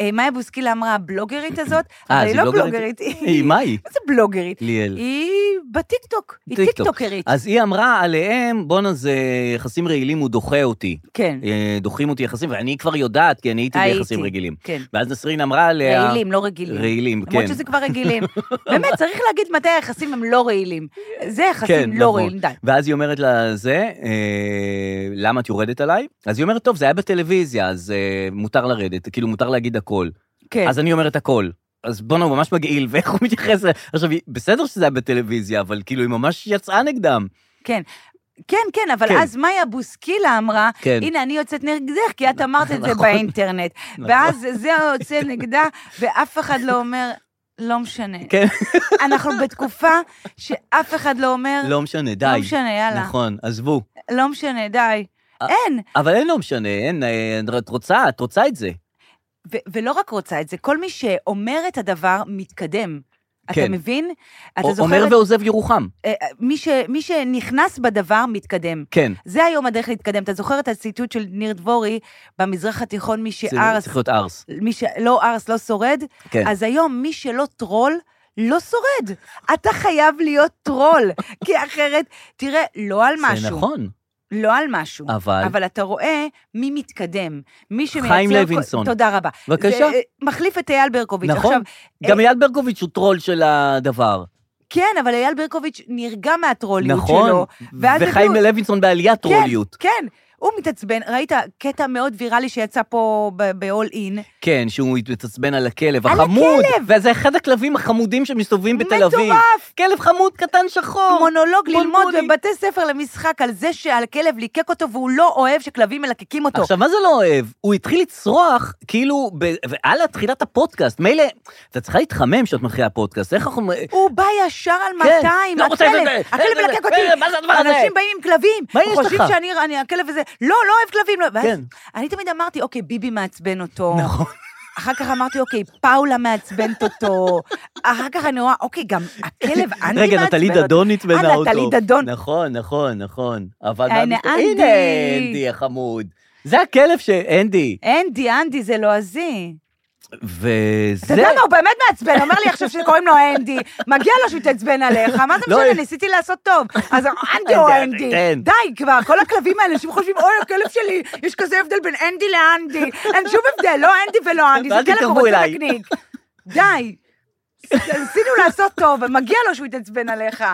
אה, מאיה בוסקילה אמרה, הבלוגרית הזאת,
אה,
אבל
אז
היא לא
בלוגרית?
בלוגרית.
היא, מה היא?
מה זה בלוגרית?
ליאל.
היא בטיקטוק, היא
טיקטוק.
טיקטוקרית.
אז היא אמרה עליהם, בואנה זה יחסים רעילים, הוא דוחה אותי.
כן,
אה, דוחים אותי יחסים, ואני כבר יודעת, כי אני הייתי
הייתי.
ביחסים רגילים.
כן.
ואז נסרין אמרה עליה...
רעילים, לא רגילים.
אה, רעילים, כן.
למרות שזה כבר רגילים. באמת, צריך להגיד מתי היחסים הם לא רעילים. זה יחסים לא רעילים, די.
כן, נכון. ואז היא אומרת לה, זה, אה, למה את יורדת עליי? אז היא אומרת, טוב, זה היה בטלוויזיה, אז אה, מותר לרדת, כאילו מותר להגיד הכל.
כן.
אז אני אומרת הכל. אז בואנה, הוא ממש מגעיל, ואיך הוא מתייחס ל... עכשיו, היא- בסדר שזה היה בטלוויזיה, אבל כאילו, היא ממש יצאה נגדם.
כן. כן, כן, אבל
כן.
אז מאיה בוסקילה אמרה,
כן.
הנה, אני יוצאת נגדך, כי את אמרת את זה
נכון.
באינטרנט.
נכון.
ואז זה יוצא נגדה, ואף אחד לא אומר, לא משנה.
כן,
אנחנו בתקופה שאף אחד לא אומר,
לא משנה, די.
לא משנה, יאללה.
נכון, עזבו.
לא משנה, די.
אה.
אין.
אבל אין לא משנה, אין, אה, את רוצה, את רוצה את זה.
ו- ולא רק רוצה את זה, כל מי שאומר את הדבר מתקדם. אתה
כן.
מבין? אתה
או-
זוכר...
אומר
את-
ועוזב ירוחם.
אה, אה, מי ש- מי שנכנס בדבר מתקדם.
כן.
זה היום הדרך להתקדם. אתה זוכר את הציטוט של ניר דבורי במזרח התיכון, מי
זה לא
שארס,
צריך להיות ארס.
מי שלא ארס לא שורד?
כן.
אז היום מי שלא טרול, לא שורד. אתה חייב להיות טרול, כי אחרת, תראה, לא על משהו.
זה נכון.
לא על משהו.
אבל-
אבל אתה רואה מי מתקדם. מי שמייצר...
חיים
כל-
לוינסון.
תודה רבה.
בבקשה.
זה, אה, מחליף את אייל ברקוביץ'.
נכון.
עכשיו, אה,
גם אייל ברקוביץ' הוא טרול של הדבר.
כן, אבל אייל ברקוביץ' נרגע מהטרוליות
נכון.
שלו. ואז לא-
וחיים
הביאו-
לוינסון בעליית טרוליות.
כן, כן. הוא מתעצבן, ראית קטע מאוד ויראלי שיצא פה ב-all in?
כן, שהוא מתעצבן על הכלב
על
החמוד.
הכלב!
וזה אחד הכלבים החמודים שמסתובבים בתל אביב.
מטורף!
כלב חמוד קטן שחור.
מונולוג ללמוד
בולבולי.
בבתי ספר למשחק על זה שהכלב ליקק אותו והוא לא אוהב שכלבים מלקקים אותו.
עכשיו, מה זה לא אוהב? הוא התחיל לצרוח, כאילו, ב- ועל תחילת הפודקאסט. מילא, אתה צריכה להתחמם כשאת מתחילה פודקאסט. איך אנחנו...
הוא בא ישר על
כן,
200,
לא רוצה את
הכלב,
זה,
הכלב
זה, זה,
מלקק
זה,
אותי,
מה זה הדבר הזה?
אנשים באים עם כלבים,
מה יש
חושבים
לך?
שאני, אני- הכלב הזה, לא, לא אוהב כלבים, לא, ואז
כן.
אני תמיד אמרתי, אוקיי, ביבי מעצבן אותו,
נכון.
אחר כך אמרתי, אוקיי, פאולה מעצבנת אותו, אחר כך אני רואה, אוקיי, גם הכלב אנטי מעצבן אותו.
רגע, נטלי דדון עצבנה
אה,
אותו.
נטלי דדון.
נכון, נכון, נכון. אבל...
הנה,
מה-
אנדי.
הנה, אנדי החמוד. זה הכלב ש... אנדי.
אנדי, אנדי זה לועזי.
וזה...
אתה יודע מה, הוא באמת מעצבן, אומר לי עכשיו שקוראים לו אנדי, מגיע לו שהוא יתעצבן עליך, מה זה
לא,
משנה, ניסיתי לעשות טוב. אז אנדי או
אנדי,
אנדי,
כן.
די כבר, כל הכלבים האלה, אנשים חושבים, אוי, הכלב שלי, יש כזה הבדל בין אנדי לאנדי, אין שום הבדל, לא אנדי ולא אנדי, זה
ואל
כלב
תתקרבו
הוא רוצה
אליי.
נקניק. די, ניסינו לעשות טוב, מגיע לו שהוא יתעצבן עליך,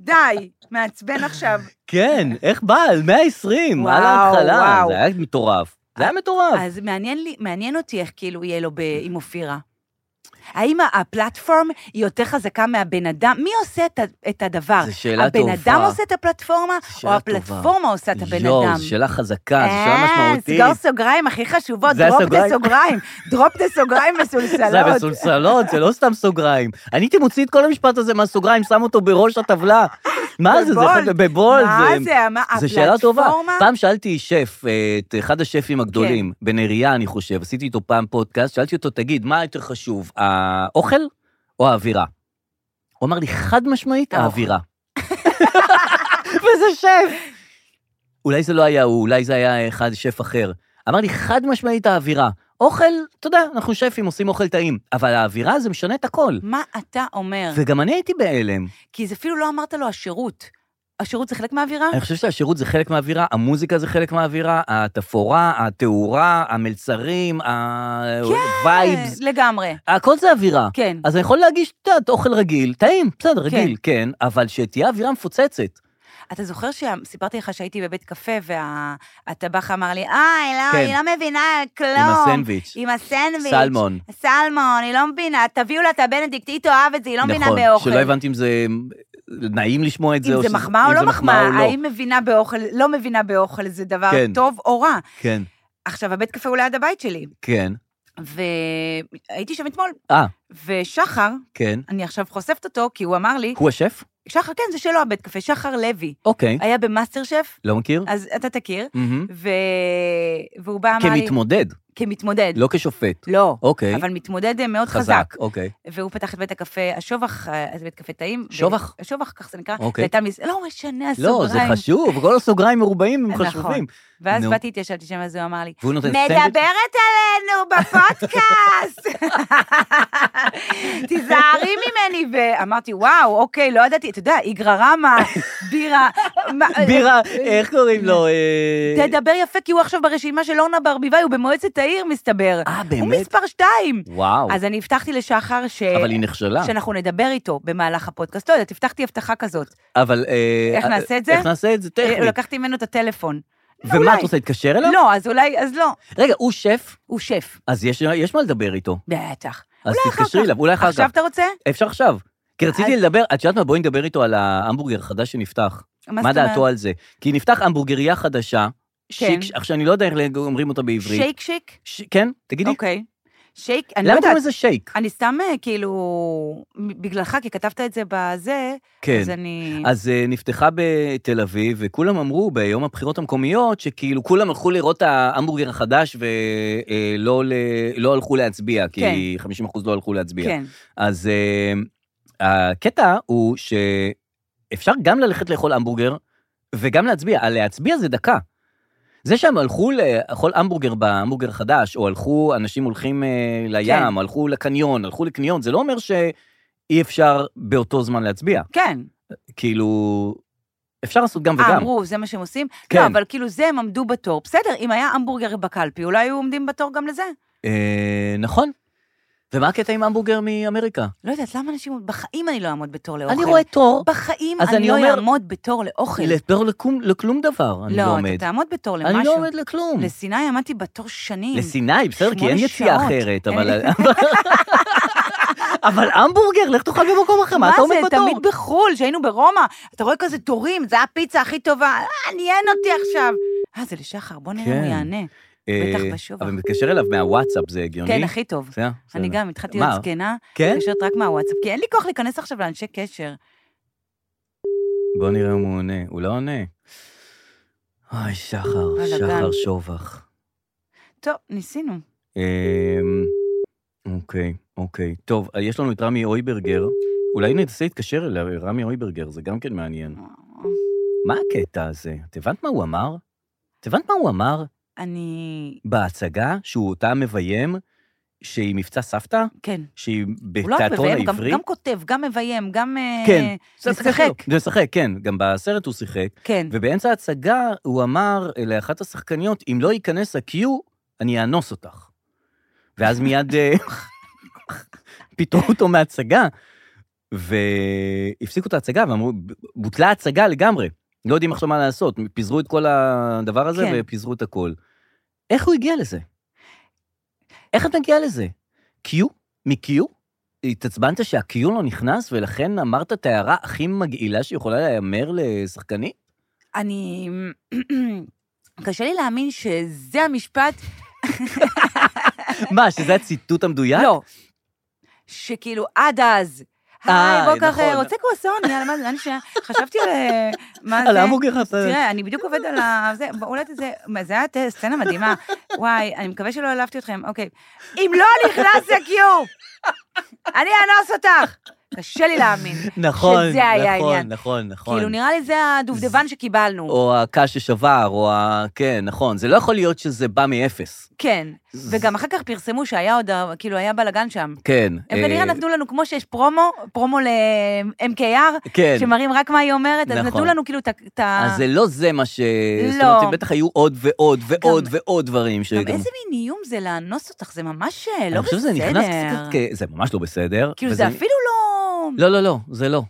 די, מעצבן עכשיו.
כן, איך בא? על 120, על
וואו,
ההתחלה.
וואו. אה,
זה היה מטורף. זה היה מטורף.
אז מעניין, לי, מעניין אותי איך כאילו יהיה לו ב, עם אופירה. האם ה- הפלטפורם היא יותר חזקה מהבן אדם? מי עושה את, ה- את הדבר?
זו שאלה
הבן
טובה.
אדם עושה את הפלטפורמה, או
שאלה
הפלטפורמה עושה את הבן אדם?
יואו, זו שאלה חזקה, זו שאלה
אה,
משמעותית.
סגור סוגריים הכי חשובות,
זה
דרופ דה
הסוגריים?
סוגריים, דרופ דה סוגריים
זה היה
מסולסלות.
בסולסלות, זה לא סתם סוגריים. אני הייתי מוציא את כל המשפט הזה מהסוגריים, שם אותו בראש הטבלה. מה זה, זה יכול להיות בבולד.
מה זה, מה,
זו שאלה טובה.
הפלטפורמה? כן.
פעם שאלתי שף, אה, את אחד השפים הגדולים, בנריה, אני חושב, עשיתי איתו פעם פודקאסט, שאלתי אותו, תגיד, מה יותר חשוב, האוכל או האווירה? הוא אמר לי, חד משמעית,
האוכל."
האווירה. וזה שף. אולי זה לא היה הוא, אולי זה היה אחד שף אחר. אמר לי, חד משמעית האווירה. אוכל, אתה יודע, אנחנו שפים, עושים אוכל טעים, אבל האווירה זה משנה את הכל.
מה אתה אומר?
וגם אני הייתי בהלם.
כי זה אפילו לא אמרת לו השירות. השירות זה חלק מהאווירה?
אני חושב שהשירות זה חלק מהאווירה, המוזיקה זה חלק מהאווירה, התפאורה, התאורה, המלצרים, הווייבס,
כן, לגמרי,
הכל זה אווירה.
כן.
אז אני יכול להגיש, את יודעת, אוכל רגיל, טעים, בסדר,
כן.
רגיל, כן, אבל שתהיה אווירה מפוצצת.
אתה זוכר שסיפרתי לך שהייתי בבית קפה והטבח אמר לי, אה, היא לא,
כן.
היא לא מבינה כלום.
עם הסנדוויץ'.
עם הסנדוויץ'.
סלמון.
סלמון, היא לא מבינה, תביאו לה את הבנדיקט, היא תאהב את זה, היא לא מבינה באוכל.
נכון, שלא הבנתי אם זה נעים לשמוע את זה,
אם זה
שזה-
מחמאה או
אם
לא
זה
מחמאה,
או לא.
האם מבינה באוכל, לא מבינה באוכל, זה דבר
כן.
טוב או רע.
כן,
עכשיו, הבית קפה הוא ליד הבית שלי,
כן.
והייתי שם אתמול,
אה,
ושחר,
כן.
אני עכשיו חושפת אותו, כי הוא אמר לי,
הוא השף?
שחר, כן, זה שלו הבית קפה, שחר לוי.
אוקיי.
היה במאסטר שף,
לא מכיר?
אז אתה תכיר,
מהמם.
ו... והוא בא, אה, אמר לי...
כמתמודד.
כמתמודד.
לא כשופט.
לא.
אוקיי.
אבל מתמודד אה, מאוד חזק.
חזק, אוקיי.
והוא פתח את בית הקפה, השובח, אה, בית קפה טעים. ו-
שובח?
שובח, כך זה נקרא.
אוקיי.
והייתה מזה, לא משנה הסוגריים.
לא, זה חשוב, כל הסוגריים מרובעים הם
נכון.
חשובים.
ואז
נו.
באתי, התיישבתי שם, אז הוא אמר לי,
והוא נותן סנדוויץ'?
מדברת עלינו בפודקאסט! תיזהרי ממני, ואמרתי, וואו, אוקיי, לא ידעתי, אתה יודע, איגרא רמא, בירה... מה-
בירה, איך קוראים לו? אה,
אה, תדבר יפה, כי הוא עכשיו ברשימה של אורנה ברביבאי, הוא במועצת העיר, מסתבר.
אה, באמת?
הוא מספר שתיים.
וואו,
אז אה, אני הבטחתי לשחר ש...
אבל היא נכשלה.
שאנחנו נדבר איתו במהלך הפודקאסט. לא יודעת, הבטחתי הבטחה כזאת.
אבל... אה,
איך
אה,
נעשה את זה?
איך נעשה את זה?
אה,
טכנית.
לקחתי ממנו את הטלפון.
ומה,
אולי.
את רוצה להתקשר אליו?
לא, אז אולי, אז לא.
רגע, הוא שף,
הוא שף,
אז יש- יש מה לדבר איתו.
בטח.
אז
אולי אחר
תתקשרי
כך.
אליו, אולי אחר
עכשיו
כך.
אתה רוצה?
אפשר עכשיו. כי רציתי
אז-
לדבר, את יודעת מה? בואי נדבר איתו על ההמבורגר החדש שנפתח.
מה
מה
זאת אומרת?
דעתו על זה? כי נפתח המבורגריה חדשה,
כן.
שיק, עכשיו אני לא יודע איך לג- אומרים אותה בעברית.
שייק שיק?
ש... כן? תגידי.
אוקיי. שייק, אני לא
למה
יודעת.
קוראים לזה שייק?
אני סתם אה, כאילו, בגללך, כי כתבת את זה בזה,
כן.
אז אני...
אז אה, נפתחה בתל אביב, וכולם אמרו ביום הבחירות המקומיות, שכאילו כולם הלכו לראות את ההמבורגר החדש ולא ל... לא הלכו להצביע, כי 50% לא הלכו להצביע.
כן.
אז אה, הקטע הוא שאפשר גם ללכת לאכול המבורגר וגם להצביע. על להצביע זה דקה. זה שהם הלכו לאכול המבורגר בהמבורגר החדש, או הלכו, אנשים הולכים אה, לים,
כן.
הלכו לקניון, הלכו לקניון, זה לא אומר שאי אפשר באותו זמן להצביע.
כן.
כאילו, אפשר לעשות גם
אה,
וגם.
אמרו, זה מה שהם עושים?
כן.
לא, אבל כאילו זה, הם עמדו בתור. בסדר, אם היה המבורגר בקלפי, אולי היו עומדים בתור גם לזה.
אה, נכון. ומה הקטע עם המבורגר מאמריקה?
לא יודעת, למה אנשים... בחיים אני לא אעמוד בתור לאוכל.
אני רואה תור,
בחיים
אז
אני
אני
לא
אומר-
אעמוד בתור לאוכל.
לתור לכלום- לכלום דבר, אני לא
כן. לא,
עומד.
אתה תעמוד בתור למשהו.
אני לא עומד לכלום.
לסיני עמדתי בתור שנים.
לסיני, בסדר, כי אין
שמונה
יציאה
שעות.
אחרת,
אין-
אבל... אבל המבורגר, לך תאכל במקום אחר, מה אתה עומד
מה זה,
בתור?
תמיד בחו"ל, שהיינו ברומא, אתה רואה כזה תורים, זה הפיצה הכי טובה, אה, עניין אותי עכשיו. אה, זה לשחר, בוא נראה אם
כן.
הוא יענה.
אה,
בטח בשובע.
אבל מתקשר אליו מהוואטסאפ, זה הגיוני?
כן, הכי טוב.
בסדר,
אני
בסדר.
גם התחלתי
מה?
להיות זקנה,
כן?
מתקשרת רק מהוואטסאפ, כי אין לי כוח להיכנס עכשיו לאנשי קשר.
בוא נראה אם הוא עונה. הוא לא עונה. אוי, שחר,
בלאגן.
שחר שובח.
טוב, ניסינו.
אמ, אוקיי, אוקיי. טוב, יש לנו את רמי אויברגר. אולי ננסה להתקשר אליו, רמי אויברגר, זה גם כן מעניין. מה הקטע הזה? את הבנת מה הוא אמר? את הבנת מה הוא אמר?
אני...
בהצגה שהוא אותה מביים, שהיא מבצע סבתא,
כן.
שהיא
הוא לא רק
בתיאטרון
מביים, הוא גם-
אה, העברי.
גם כותב, גם מביים, גם... אה,
כן. זה
משחק.
השחקן שלו. זה משחק, כן. גם בסרט הוא שיחק.
כן.
ובאמצע ההצגה הוא אמר לאחת השחקניות, אם לא ייכנס ה-Q, אני אאנוס אותך. ואז מיד אה, פיטרו אותו מההצגה, והפסיקו את ההצגה, ואמרו, בוטלה ההצגה לגמרי. לא יודעים עכשיו מה לעשות, פיזרו את כל הדבר הזה
כן.
ופיזרו את הכל. איך הוא הגיע לזה? איך את מגיעה לזה? Q? מ-Q? התעצבנת שה-Q לא נכנס, ולכן אמרת את ההערה הכי מגעילה שיכולה להיאמר לשחקנית?
אני... קשה לי להאמין שזה המשפט
מה, שזה הציטוט המדויק?
לא. שכאילו, עד אז.
אה,
היי, בוקר,
נכון.
רוצה קרואסון? יאללה, מה זה, לאן שנייה? חשבתי על... אה, מה זה?
על ההמבורגר הזה.
תראה, אני בדיוק עובד על ה... זה, בוא, אולי זה... מה, זה היה ת- סצנה מדהימה. וואי, אני מקווה שלא העלבתי אתכם. אוקיי. אם לא נכנס לקיו, אני אאנוס אותך. קשה לי להאמין.
נכון,
שזה היה
נכון,
העניין.
נכון, נכון.
כאילו, נראה לי זה הדובדבן שקיבלנו.
או הקש ששבר, או ה... כן, נכון. זה לא יכול להיות שזה בא מאפס.
כן. וגם אחר כך פרסמו שהיה עוד... ה- כאילו, היה בלאגן שם.
כן.
הם
אה,
כנראה נתנו לנו, כמו שיש פרומו, פרומו ל-MKR,
כן.
שמראים רק מה היא אומרת, אז
נכון.
נתנו לנו כאילו את ה- את ה...
אז זה לא זה מה ש... זאת
לא.
אומרת, בטח היו עוד ועוד ועוד
גם-
ועוד דברים.
גם
שגם-
איזה מין איום זה לאנוס אותך, זה ממש אה,
לא
לא בסדר.
אני חושב שזה נכנס קצת כ... זה ממש לא בסדר.
כאילו,
וזה-
זה אפילו לא...
לא, לא, לא, זה לא.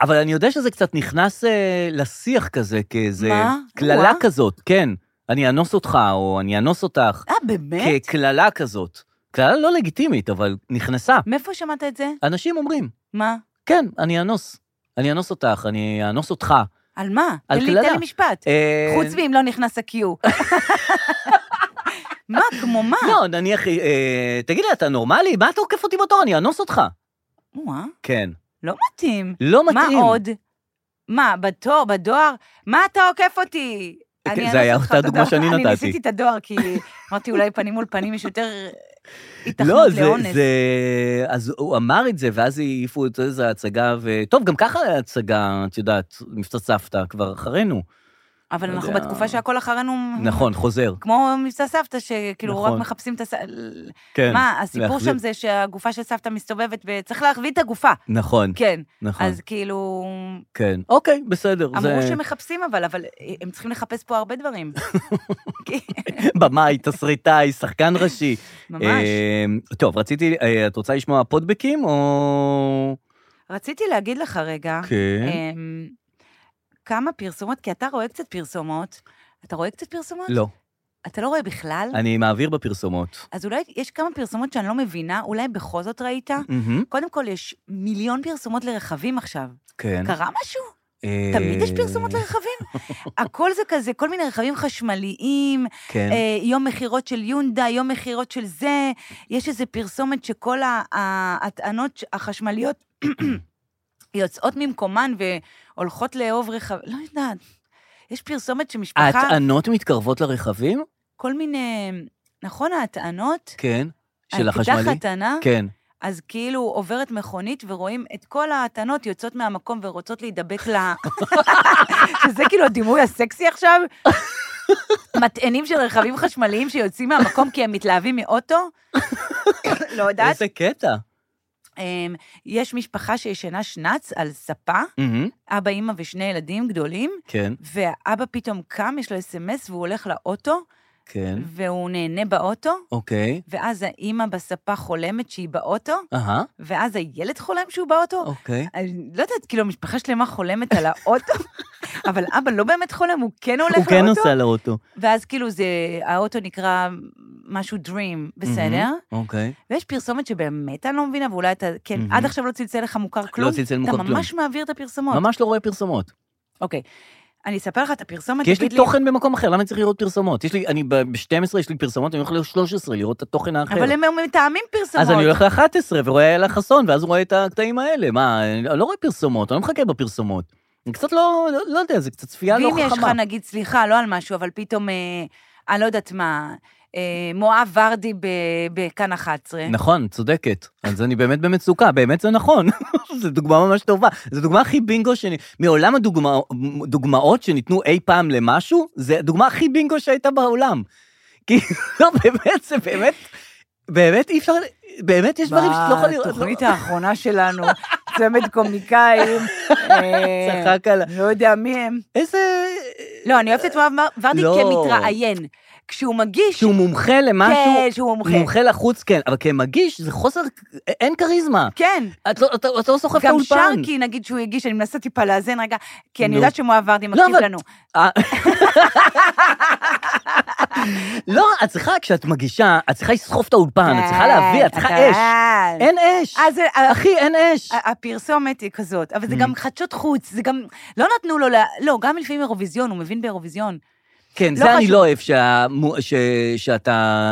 אבל אני יודע שזה קצת נכנס אה, לשיח כזה, כאיזה...
מה?
קללה
וואה.
כזאת, כן. אני אאנוס אותך, או אני אאנוס אותך.
אה, באמת?
כקללה כזאת. קללה לא לגיטימית, אבל נכנסה.
מאיפה שמעת את זה?
אנשים אומרים,
מה?
כן, אני אאנוס. אני אאנוס אותך, אני אאנוס אותך.
על מה?
על
תן לי-
קללה.
תן לי משפט.
אה,
חוץ מאם לא נכנס ה-Q. מה, כמו מה?
לא, נניח, אה, תגיד לי, אתה נורמלי? מה אתה עוקף אותי בתור? אני אאנוס אותך.
וואה,
כן.
לא מתאים.
לא מתאים.
מה עוד? מה, בתור, בדואר? מה אתה עוקף אותי? אני
כן,
אני
זה היה
אעשה אותך
אותה
את
דוגמה
הדואר.
שאני
אני
נתתי.
ניסיתי את הדואר, כי אמרתי, אולי פנים מול פנים יש יותר
לא,
התכנות
זה,
לאונס.
זה... אז הוא אמר את זה, ואז העיפו את איזה הצגה, ו... טוב, גם ככה הצגה, את יודעת, מבצע סבתא כבר אחרינו.
אבל
לא
אנחנו
יודע.
בתקופה שהכל אחרינו...
נכון, חוזר.
כמו מבצע סבתא, שכאילו רק
נכון.
מחפשים את הס...
כן.
מה, הסיפור
להחזיר-
שם זה שהגופה של סבתא מסתובבת, וצריך להחביא את הגופה.
נכון,
כן.
נכון,
אז כאילו...
כן. אוקיי, בסדר.
אמרו
זה-
שמחפשים אבל, אבל הם צריכים לחפש פה הרבה דברים. כן,
במאי, תסריטאי, שחקן ראשי.
ממש.
אה, טוב, רציתי, אה, את רוצה לשמוע פודבקים או...
רציתי להגיד לך רגע,
כן.
אמ, כמה פרסומות, כי אתה רואה קצת פרסומות. אתה רואה קצת פרסומות?
לא,
אתה לא רואה בכלל?
אני מעביר בפרסומות.
אז אולי יש כמה פרסומות שאני לא מבינה, אולי בכל זאת ראית?
מהמם,
קודם כל, יש מיליון פרסומות לרכבים עכשיו.
כן.
קרה משהו?
אה,
תמיד יש פרסומות לרכבים. הכל זה כזה, כל מיני רכבים חשמליים,
כן.
אה, יום מכירות של יונדה, יום מכירות של זה, יש איזה פרסומת שכל ה- ההטענות החשמליות יוצאות ממקומן והולכות לאהוב רכב, לא יודעת. יש פרסומת שמשפחה,
אה, הטענות מתקרבות לרכבים?
כל מיני, נכון ההטענות?
כן. של
על
החשמלי?
פיתח הטענה,
כן.
אז כאילו עוברת מכונית ורואים את כל ההטענות יוצאות מהמקום ורוצות להידבק ל... שזה כאילו הדימוי הסקסי עכשיו? מטענים של רכבים חשמליים שיוצאים מהמקום כי הם מתלהבים מאוטו? לא יודעת.
איזה קטע.
אמ, יש משפחה שישנה שנץ על ספה,
מהמם,
אבא, אימא ושני ילדים גדולים,
כן,
והאבא פתאום קם, יש לו אס.אם.אס והוא הולך לאוטו,
כן.
והוא נהנה באוטו,
אוקיי.
ואז האימא בספה חולמת שהיא באוטו,
אהה,
ואז הילד חולם שהוא באוטו.
אוקיי.
אני לא יודעת, כאילו, משפחה שלמה חולמת על האוטו, אבל אבא לא באמת חולם, הוא כן הולך
הוא כן
לאוטו,
נוסע לאוטו.
ואז כאילו זה, האוטו נקרא משהו Dream, בסדר?
מהמם, אוקיי.
ויש פרסומת שבאמת אני לא מבינה, ואולי אתה, כן,
מהמם.
עד עכשיו לא צלצל לך מוכר כלום?
לא צלצל מוכר
אתה
כלום.
ממש מעביר את הפרסומות.
ממש לא רואה פרסומות.
אוקיי. אני אספר לך את הפרסומת,
כי יש לי
תגיד
תוכן במקום אחר, למה אני צריך לראות פרסומות? יש לי, אני ב-12, יש לי פרסומות, אני הולך ל-13 לראות את התוכן האחר.
אבל הם מתאמים פרסומות.
אז אני הולך ל-11 ורואה אלה חסון, ואז רואה את הקטעים האלה. מה, אני לא רואה פרסומות, אני לא מחכה בפרסומות. אני קצת לא, לא- לא יודע, זה קצת צפייה לא
ואם
חכמה.
יש לך, נגיד, סליחה, לא על משהו, אבל פתאום, אה, אני לא יודעת מה, אה, מואב ורדי ב- בכאן 11.
נכון, צודקת. אז אני באמת במצוקה, באמת זה נכון. זו דוגמה ממש טובה. זו דוגמה הכי בינגו שאני... מעולם הדוגמאות שניתנו אי פעם למשהו, זה הדוגמה הכי בינגו שהייתה בעולם. כי לא, באמת, זה באמת... באמת אי אפשר... באמת יש דברים שאתה לא יכול לראות. לא-
בתוכנית האחרונה שלנו, צמד קומיקאים, אה,
צחק על...
לא יודע מי הם.
איזה...
לא, אני אוהבת את מואב מר- ורדי
לא.
כמתראיין. כשהוא מגיש,
שהוא מומחה למשהו...
כן, שהוא מומחה.
מומחה לחוץ, כן, אבל כמגיש זה חוסר... אין כריזמה.
כן.
את לא- אתה אתה לא סוחב את
גם כאילו.
האולפן.
שרקי, נגיד שהוא הגיש, אני מנסה טיפה לאזן רגע, כי אני
נו.
יודעת שמואב ורדי
לא,
מקשיב
אבל-
לנו.
אה. לא, את צריכה, כשאת מגישה, את צריכה לסחוב את האולפן, את אה, צריכה להביא, את צריכה אש.
כן.
אין אש.
אז אה,
אחי, אין אש.
ה- הפרסומת היא כזאת, אבל זה
Mm.
גם חדשות חוץ, זה גם, לא נתנו לו, לה- לא, גם לפעמים אירוויזיון, הוא מבין באירוויזיון.
כן,
לא
זה אני
חשוב.
לא אוהב, שהמו- ש- שאתה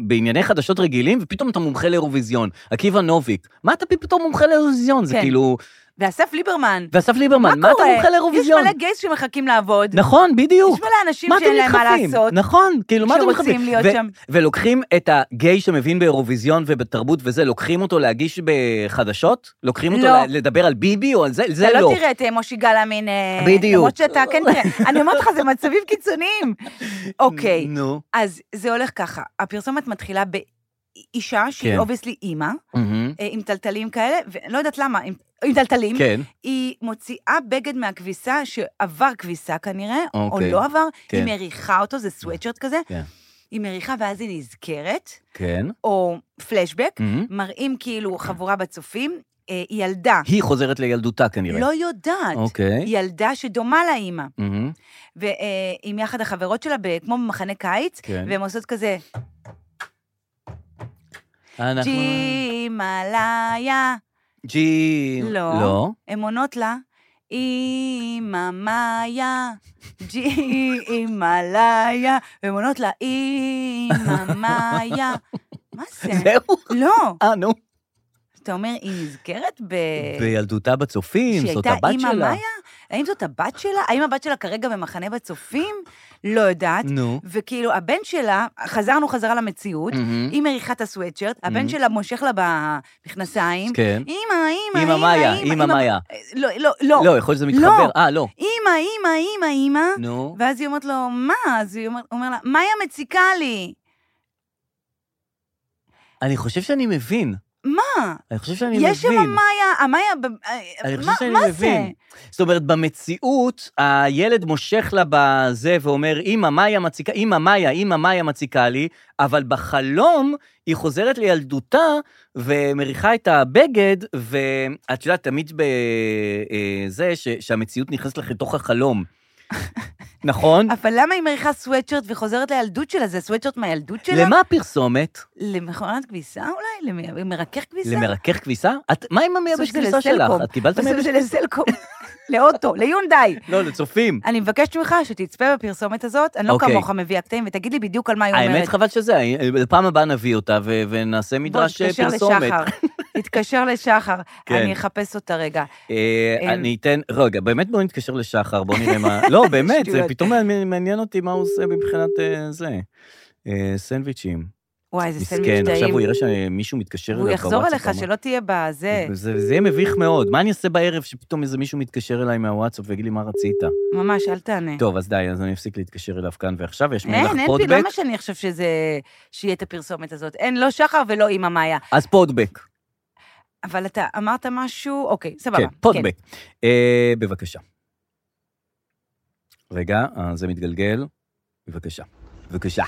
בענייני חדשות רגילים, ופתאום אתה מומחה לאירוויזיון. עקיבא נוביק, מה אתה פתאום מומחה לאירוויזיון? זה
כן.
כאילו...
ואסף ליברמן,
ואסף ליברמן,
מה
מה אתה
קורה?
מומחה לאירוויזיון?
יש מלא גייס שמחכים לעבוד.
נכון, בדיוק.
יש מלא אנשים
מה אתם
שאין להם מה
נדחפים?
לעשות.
נכון, כאילו, מה אתם
שרוצים
מתחפים?
להיות שם.
ולוקחים את הגיי שמבין באירוויזיון ובתרבות וזה, לוקחים אותו להגיש בחדשות? לוקחים אותו
לא.
ל- לדבר על ביבי או על זה? זה
אתה
לא.
לא תראה את אה, משה גלאמין, אה,
בדיוק.
למרות שאתה, כן, כן, אני אומרת לך, זה מצבים קיצוניים. אוקיי,
נו.
אז זה הולך ככה, הפרסומת מתחילה באישה שהיא
כן.
אובייסלי אימא,
מהמם.
אה, עם טלטלים כאלה, ולא יודעת למה, עם עם טלטלים,
כן,
היא מוציאה בגד מהכביסה, שעבר כביסה כנראה, או
אוקיי.
לא עבר, היא
כן.
מריחה אותו, זה סוואטשרט כזה,
כן.
היא מריחה ואז היא נזכרת,
כן.
או פלשבק,
מהמם.
מראים כאילו חבורה בצופים, אה, היא ילדה,
היא חוזרת לילדותה כנראה.
לא יודעת,
אוקיי.
היא ילדה שדומה לאימא,
מהמם.
ועם יחד החברות שלה, ב- כמו במחנה קיץ,
כן.
והן עושות כזה,
אנחנו-
ג'ימאליה,
ג'י...
לא.
לא.
הן עונות לה, אימא מאיה, ג'י אימאליה, והן עונות לה, אימא מאיה. מה זה?
זהו.
לא,
אה, נו.
אתה אומר, היא נזכרת ב...
בילדותה בצופים, זאת הבת שלה.
שהיא הייתה אה. אימא מאיה? האם זאת הבת שלה? האם הבת שלה כרגע במחנה בצופים? לא יודעת.
נו.
וכאילו, הבן שלה, חזרנו חזרה למציאות,
מהמם.
היא מריחה את הסוואטשרט, הבן שלה מושך לה במכנסיים.
כן.
אימא, אימא,
אימא
אימא,
מאיה, אימא מאיה.
לא, לא, לא.
לא, יכול להיות שזה מתחבר. אה, לא.
אימא, אימא, אימא, אימא.
נו.
ואז היא אומרת לו, מה? אז היא אומרת- אומר לה, מאיה מציקה לי.
אני חושב שאני מבין.
מה?
אני חושב שאני מבין.
יש שם מאיה, המאיה, ב- אה,
אני חושב
מה-
שאני
מה זה?
מבין. זאת אומרת, במציאות, הילד מושך לה בזה ואומר, אמא, מאיה מציקה, אמא, מאיה, אמא, מאיה מציקה לי, אבל בחלום היא חוזרת לילדותה ומריחה את הבגד, ואת יודעת, תמיד בזה ש... שהמציאות נכנסת לך לתוך החלום. נכון?
אבל למה היא מריחה סוואטשרט וחוזרת לילדות שלה? זה סוואטשרט מהילדות שלה?
למה הפרסומת?
למכונת כביסה אולי? למ- למרכך כביסה?
למרכך כביסה? את, מה עם
בסוף
המייבש
זה
כביסה שלך?
לסלקום.
את קיבלת
בסוף
מייבש?
זה לסלקום. לאוטו, ליונדאי.
לא, לצופים.
אני מבקשת ממך שתצפה בפרסומת הזאת, אני לא
אוקיי.
כמוך מביאה קטעים, ותגיד לי בדיוק על מה היא אומרת.
האמת, חבל שזה, לפעם הבאה נביא אותה ו- ונעשה מדרש אה,
בוא, תתקשר
פרסומת.
לשחר. תתקשר לשחר,
כן.
אני אחפש אותה רגע.
אה,
אין.
אני אתן, רגע, באמת בואו נתקשר לשחר, בואו נראה מה... לא, באמת, זה
שטויות.
פתאום מעניין- מעניין אותי מה הוא עושה מבחינת אה, זה. אה, סנדוויצ'ים.
וואי, איזה סנדוויץ'
מסכן, עכשיו
טעים.
הוא יראה שמישהו מתקשר אליו
הוא יחזור
בוואטסאפ,
אליך,
הוא אמר-
שלא תהיה בזה,
זה זה יהיה מביך מאוד. מה אני אעשה בערב שפתאום איזה מישהו מתקשר אליי מהוואטסאפ ויגיד לי מה רצית?
ממש, אל תענה.
טוב, אז די, אז אני אפסיק להתקשר אליו כאן ועכשיו, יש מלך
אין, לא אין פי,
פודבק.
למה שאני אחשוב שזה... שיהיה את הפרסומת הזאת? אין, לא שחר ולא אימא מאיה.
אז פודבק.
אבל אתה אמרת משהו, אוקיי, סבבה.
כן, פודבק. אה, בבקשה. רגע, אה, זה מתגלגל. בבקשה. בבקשה.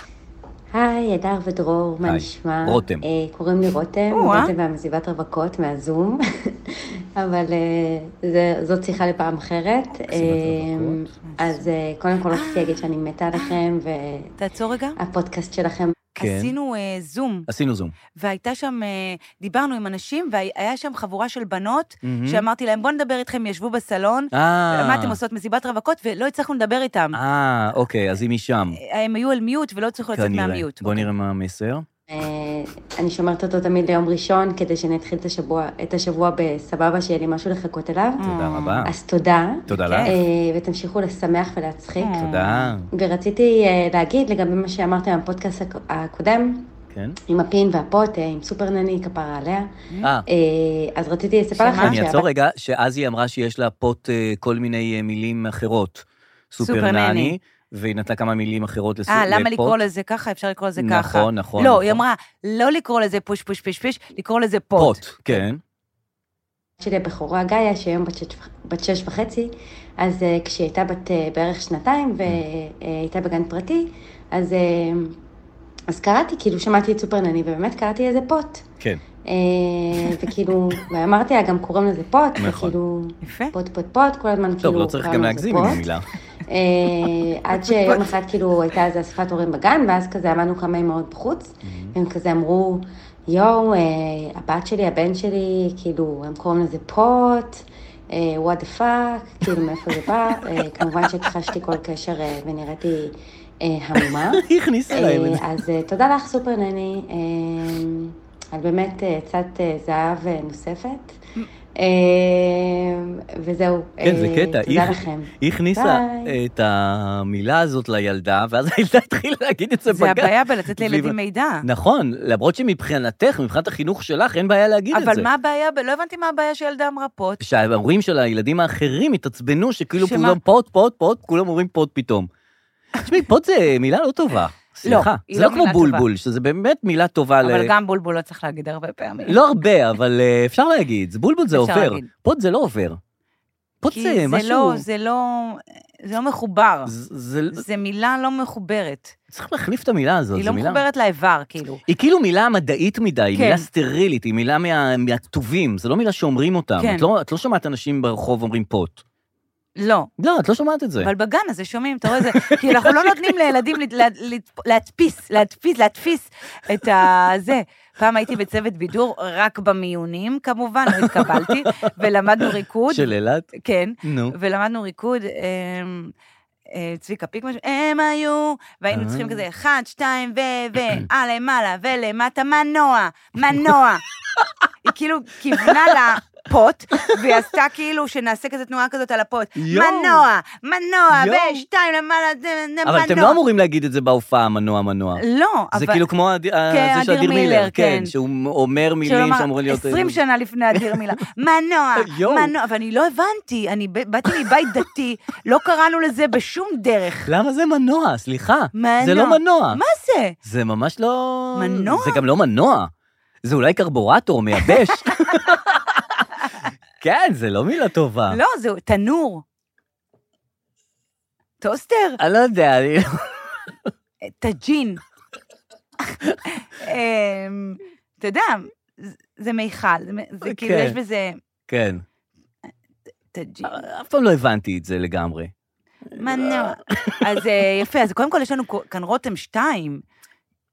היי, אדר ודרור, מה
היי.
נשמע?
רותם.
אה, קוראים לי רותם,
או-אה.
רותם והמזיבת רווקות מהזום, אבל אה, זה, זאת שיחה לפעם אחרת. אה,
רווקות.
אז אה, קודם כל רציתי להגיד שאני מתה עליכם,
תעצור רגע.
והפודקאסט שלכם
כן.
עשינו אה, זום,
עשינו זום.
והייתה שם, אה, דיברנו עם אנשים, והיה שם חבורה של בנות,
מהמם.
שאמרתי להם, בואו נדבר איתכם, ישבו בסלון,
אה.
מה אתם עושות, מסיבת רווקות, ולא הצלחנו לדבר איתם.
אה, אוקיי, אז היא משם.
אה, הם היו על מיוט ולא הצליחו לצאת
כנראה.
מהמיוט. אוקיי.
בוא נראה מה המסר.
אה, אני שומרת אותו תמיד ליום ראשון, כדי שאני אתחיל את השבוע, את השבוע בסבבה, שיהיה לי משהו לחכות אליו.
תודה רבה.
אז תודה,
תודה
כן.
לך.
אה, ותמשיכו לשמח ולהצחיק.
אה. תודה.
ורציתי אה, להגיד לגבי מה שאמרתם בפודקאסט הק- הקודם,
כן.
עם הפין והפוט, אה, עם סופרנני, כפרה עליה.
אה,
אה, אז רציתי לספר לכם
שמה?
אני אעצור רגע, שאז היא אמרה שיש לה פוט אה, כל מיני אה, מילים אחרות. סופרנני.
סופרנני.
והיא נתנה כמה מילים אחרות לסופ- לפוט.
אה, למה לקרוא לזה ככה? אפשר לקרוא לזה ככה.
נכון, נכון.
לא, היא
נכון.
אמרה, לא לקרוא לזה פוש פוש פש פש, לקרוא לזה פוט.
פוט, כן.
שלי הבכורה גאיה, שהיום בת שש, בת שש וחצי, אז אה, כשהיא הייתה בת אה, בערך שנתיים והייתה בגן פרטי, אז, אה, אז קראתי, כאילו שמעתי את סופרנני, ובאמת קראתי איזה פוט.
כן.
אה, וכאילו, ואמרתי לה, גם קוראים לזה פוט,
נכון.
וכאילו,
יפה.
פוט פוט פוט, כל הזמן כאילו,
טוב, לא צריך
קראנו
גם
לזה
להגזים עם
פוט.
המילה.
אה, עד שיום אחד כאילו הייתה איזו אספת הורים בגן, ואז כזה עמדנו כמה אמהות בחוץ,
Mm-hmm.
והם כזה אמרו, יואו, אה, הבת שלי, הבן שלי, כאילו, הם קוראים לזה פוט, אה, וואט דה פאק, כאילו, מאיפה זה בא? אה, כמובן שהכחשתי כל קשר אה, ונראיתי אה, המומה.
היא הכניסה להם את זה.
אה, אז אה, תודה לך, סופר נני, אה, על באמת אה, עצת אה, זהב אה, נוספת.
Mm.
אה, וזהו,
כן, זה
אה,
קטע. היא-
תודה לכם.
היא הכניסה אה,
ביי.
את המילה הזאת לילדה, ואז הילדה התחילה להגיד את זה
זה
בגן.
הבעיה בלתת לילדים
והיא-
מידע.
נכון, למרות שמבחינתך, מבחינת החינוך שלך, אין בעיה להגיד את זה.
אבל מה הבעיה? ב- לא הבנתי מה הבעיה שילדה אמרה פוט.
שההורים של הילדים האחרים התעצבנו שכאילו
שמה?
כולם פוט, פוט, פוט, כולם אומרים פוט פתאום. תשמעי, פוט זה מילה לא טובה. סליחה.
היא
זה
לא
לא כמו
מילה
בולבול, שזה באמת מילה טובה ל...
אבל גם בולבול לא צריך להגיד הרבה פעמים.
אה, לא הרבה, אבל אה, אפשר להגיד, זה בולבול זה
אפשר
עובר.
להגיד.
פוט זה לא עובר. פוט
כי
זה משהו...
לא, זה לא, זה לא מחובר.
זה... זה-
זה מילה לא מחוברת.
צריך להחליף את המילה הזאת,
היא
זו
לא
מילה...
מחוברת לאיבר, כאילו.
היא כאילו מילה מדעית מדי, היא
כן.
מילה סטרילית, היא מילה מה- מהכתובים, זו לא מילה שאומרים אותם.
כן.
את לא- את לא שומעת אנשים ברחוב אומרים פוט.
לא.
לא, את לא שומעת את זה.
אבל בגן הזה שומעים, אתה רואה זה, כי אנחנו לא נותנים לילדים לת- לה- לת- להדפיס, להדפיס, להדפיס את ה... זה. פעם הייתי בצוות בידור, רק במיונים, כמובן, לא התקבלתי, ולמדנו ריקוד.
של אילת?
כן.
נו.
ולמדנו ריקוד, אמ, אה, צביקה פיק, משהו, הם היו, והיינו
אה.
צריכים כזה, אחד, שתיים, ו, ו, אה, למעלה, ולמטה, מנוע, מנוע. כאילו כיוונה לפוט, והיא עשתה כאילו שנעשה כזה תנועה כזאת על הפוט.
יואו.
מנוע, מנוע,
יואו.
ושתיים למעלה, זה- זה
אבל אתם
מנוע.
לא אמורים להגיד את זה בהופעה, מנוע, מנוע.
לא, אבל...
זה כאילו כמו הד-
כן,
זה של אדיר מילר, כן, שהוא אומר מילים
שלומר,
שאמורים להיות... אה,
20 שנה לפני אדיר מילה. מנוע,
יואו.
מנוע, ואני לא הבנתי, אני ב- באתי מבית דתי, לא קראנו לזה בשום דרך.
למה זה מנוע? סליחה.
מנוע.
זה לא מנוע.
מה זה?
זה ממש לא...
מנוע?
זה גם לא מנוע. זה אולי קרבורטור מייבש. כן, זה לא מילה טובה.
לא, זה תנור. טוסטר?
אני לא יודע, אני...
אה, טאג'ין. אמ, אתה יודע, זה- זה מיכל, זה מ- זה כאילו
כן.
יש בזה
כן.
טאג'ין.
אף פעם לא הבנתי את זה לגמרי.
מנוע. אז אה, יפה, אז קודם כל יש לנו כאן רותם שתיים.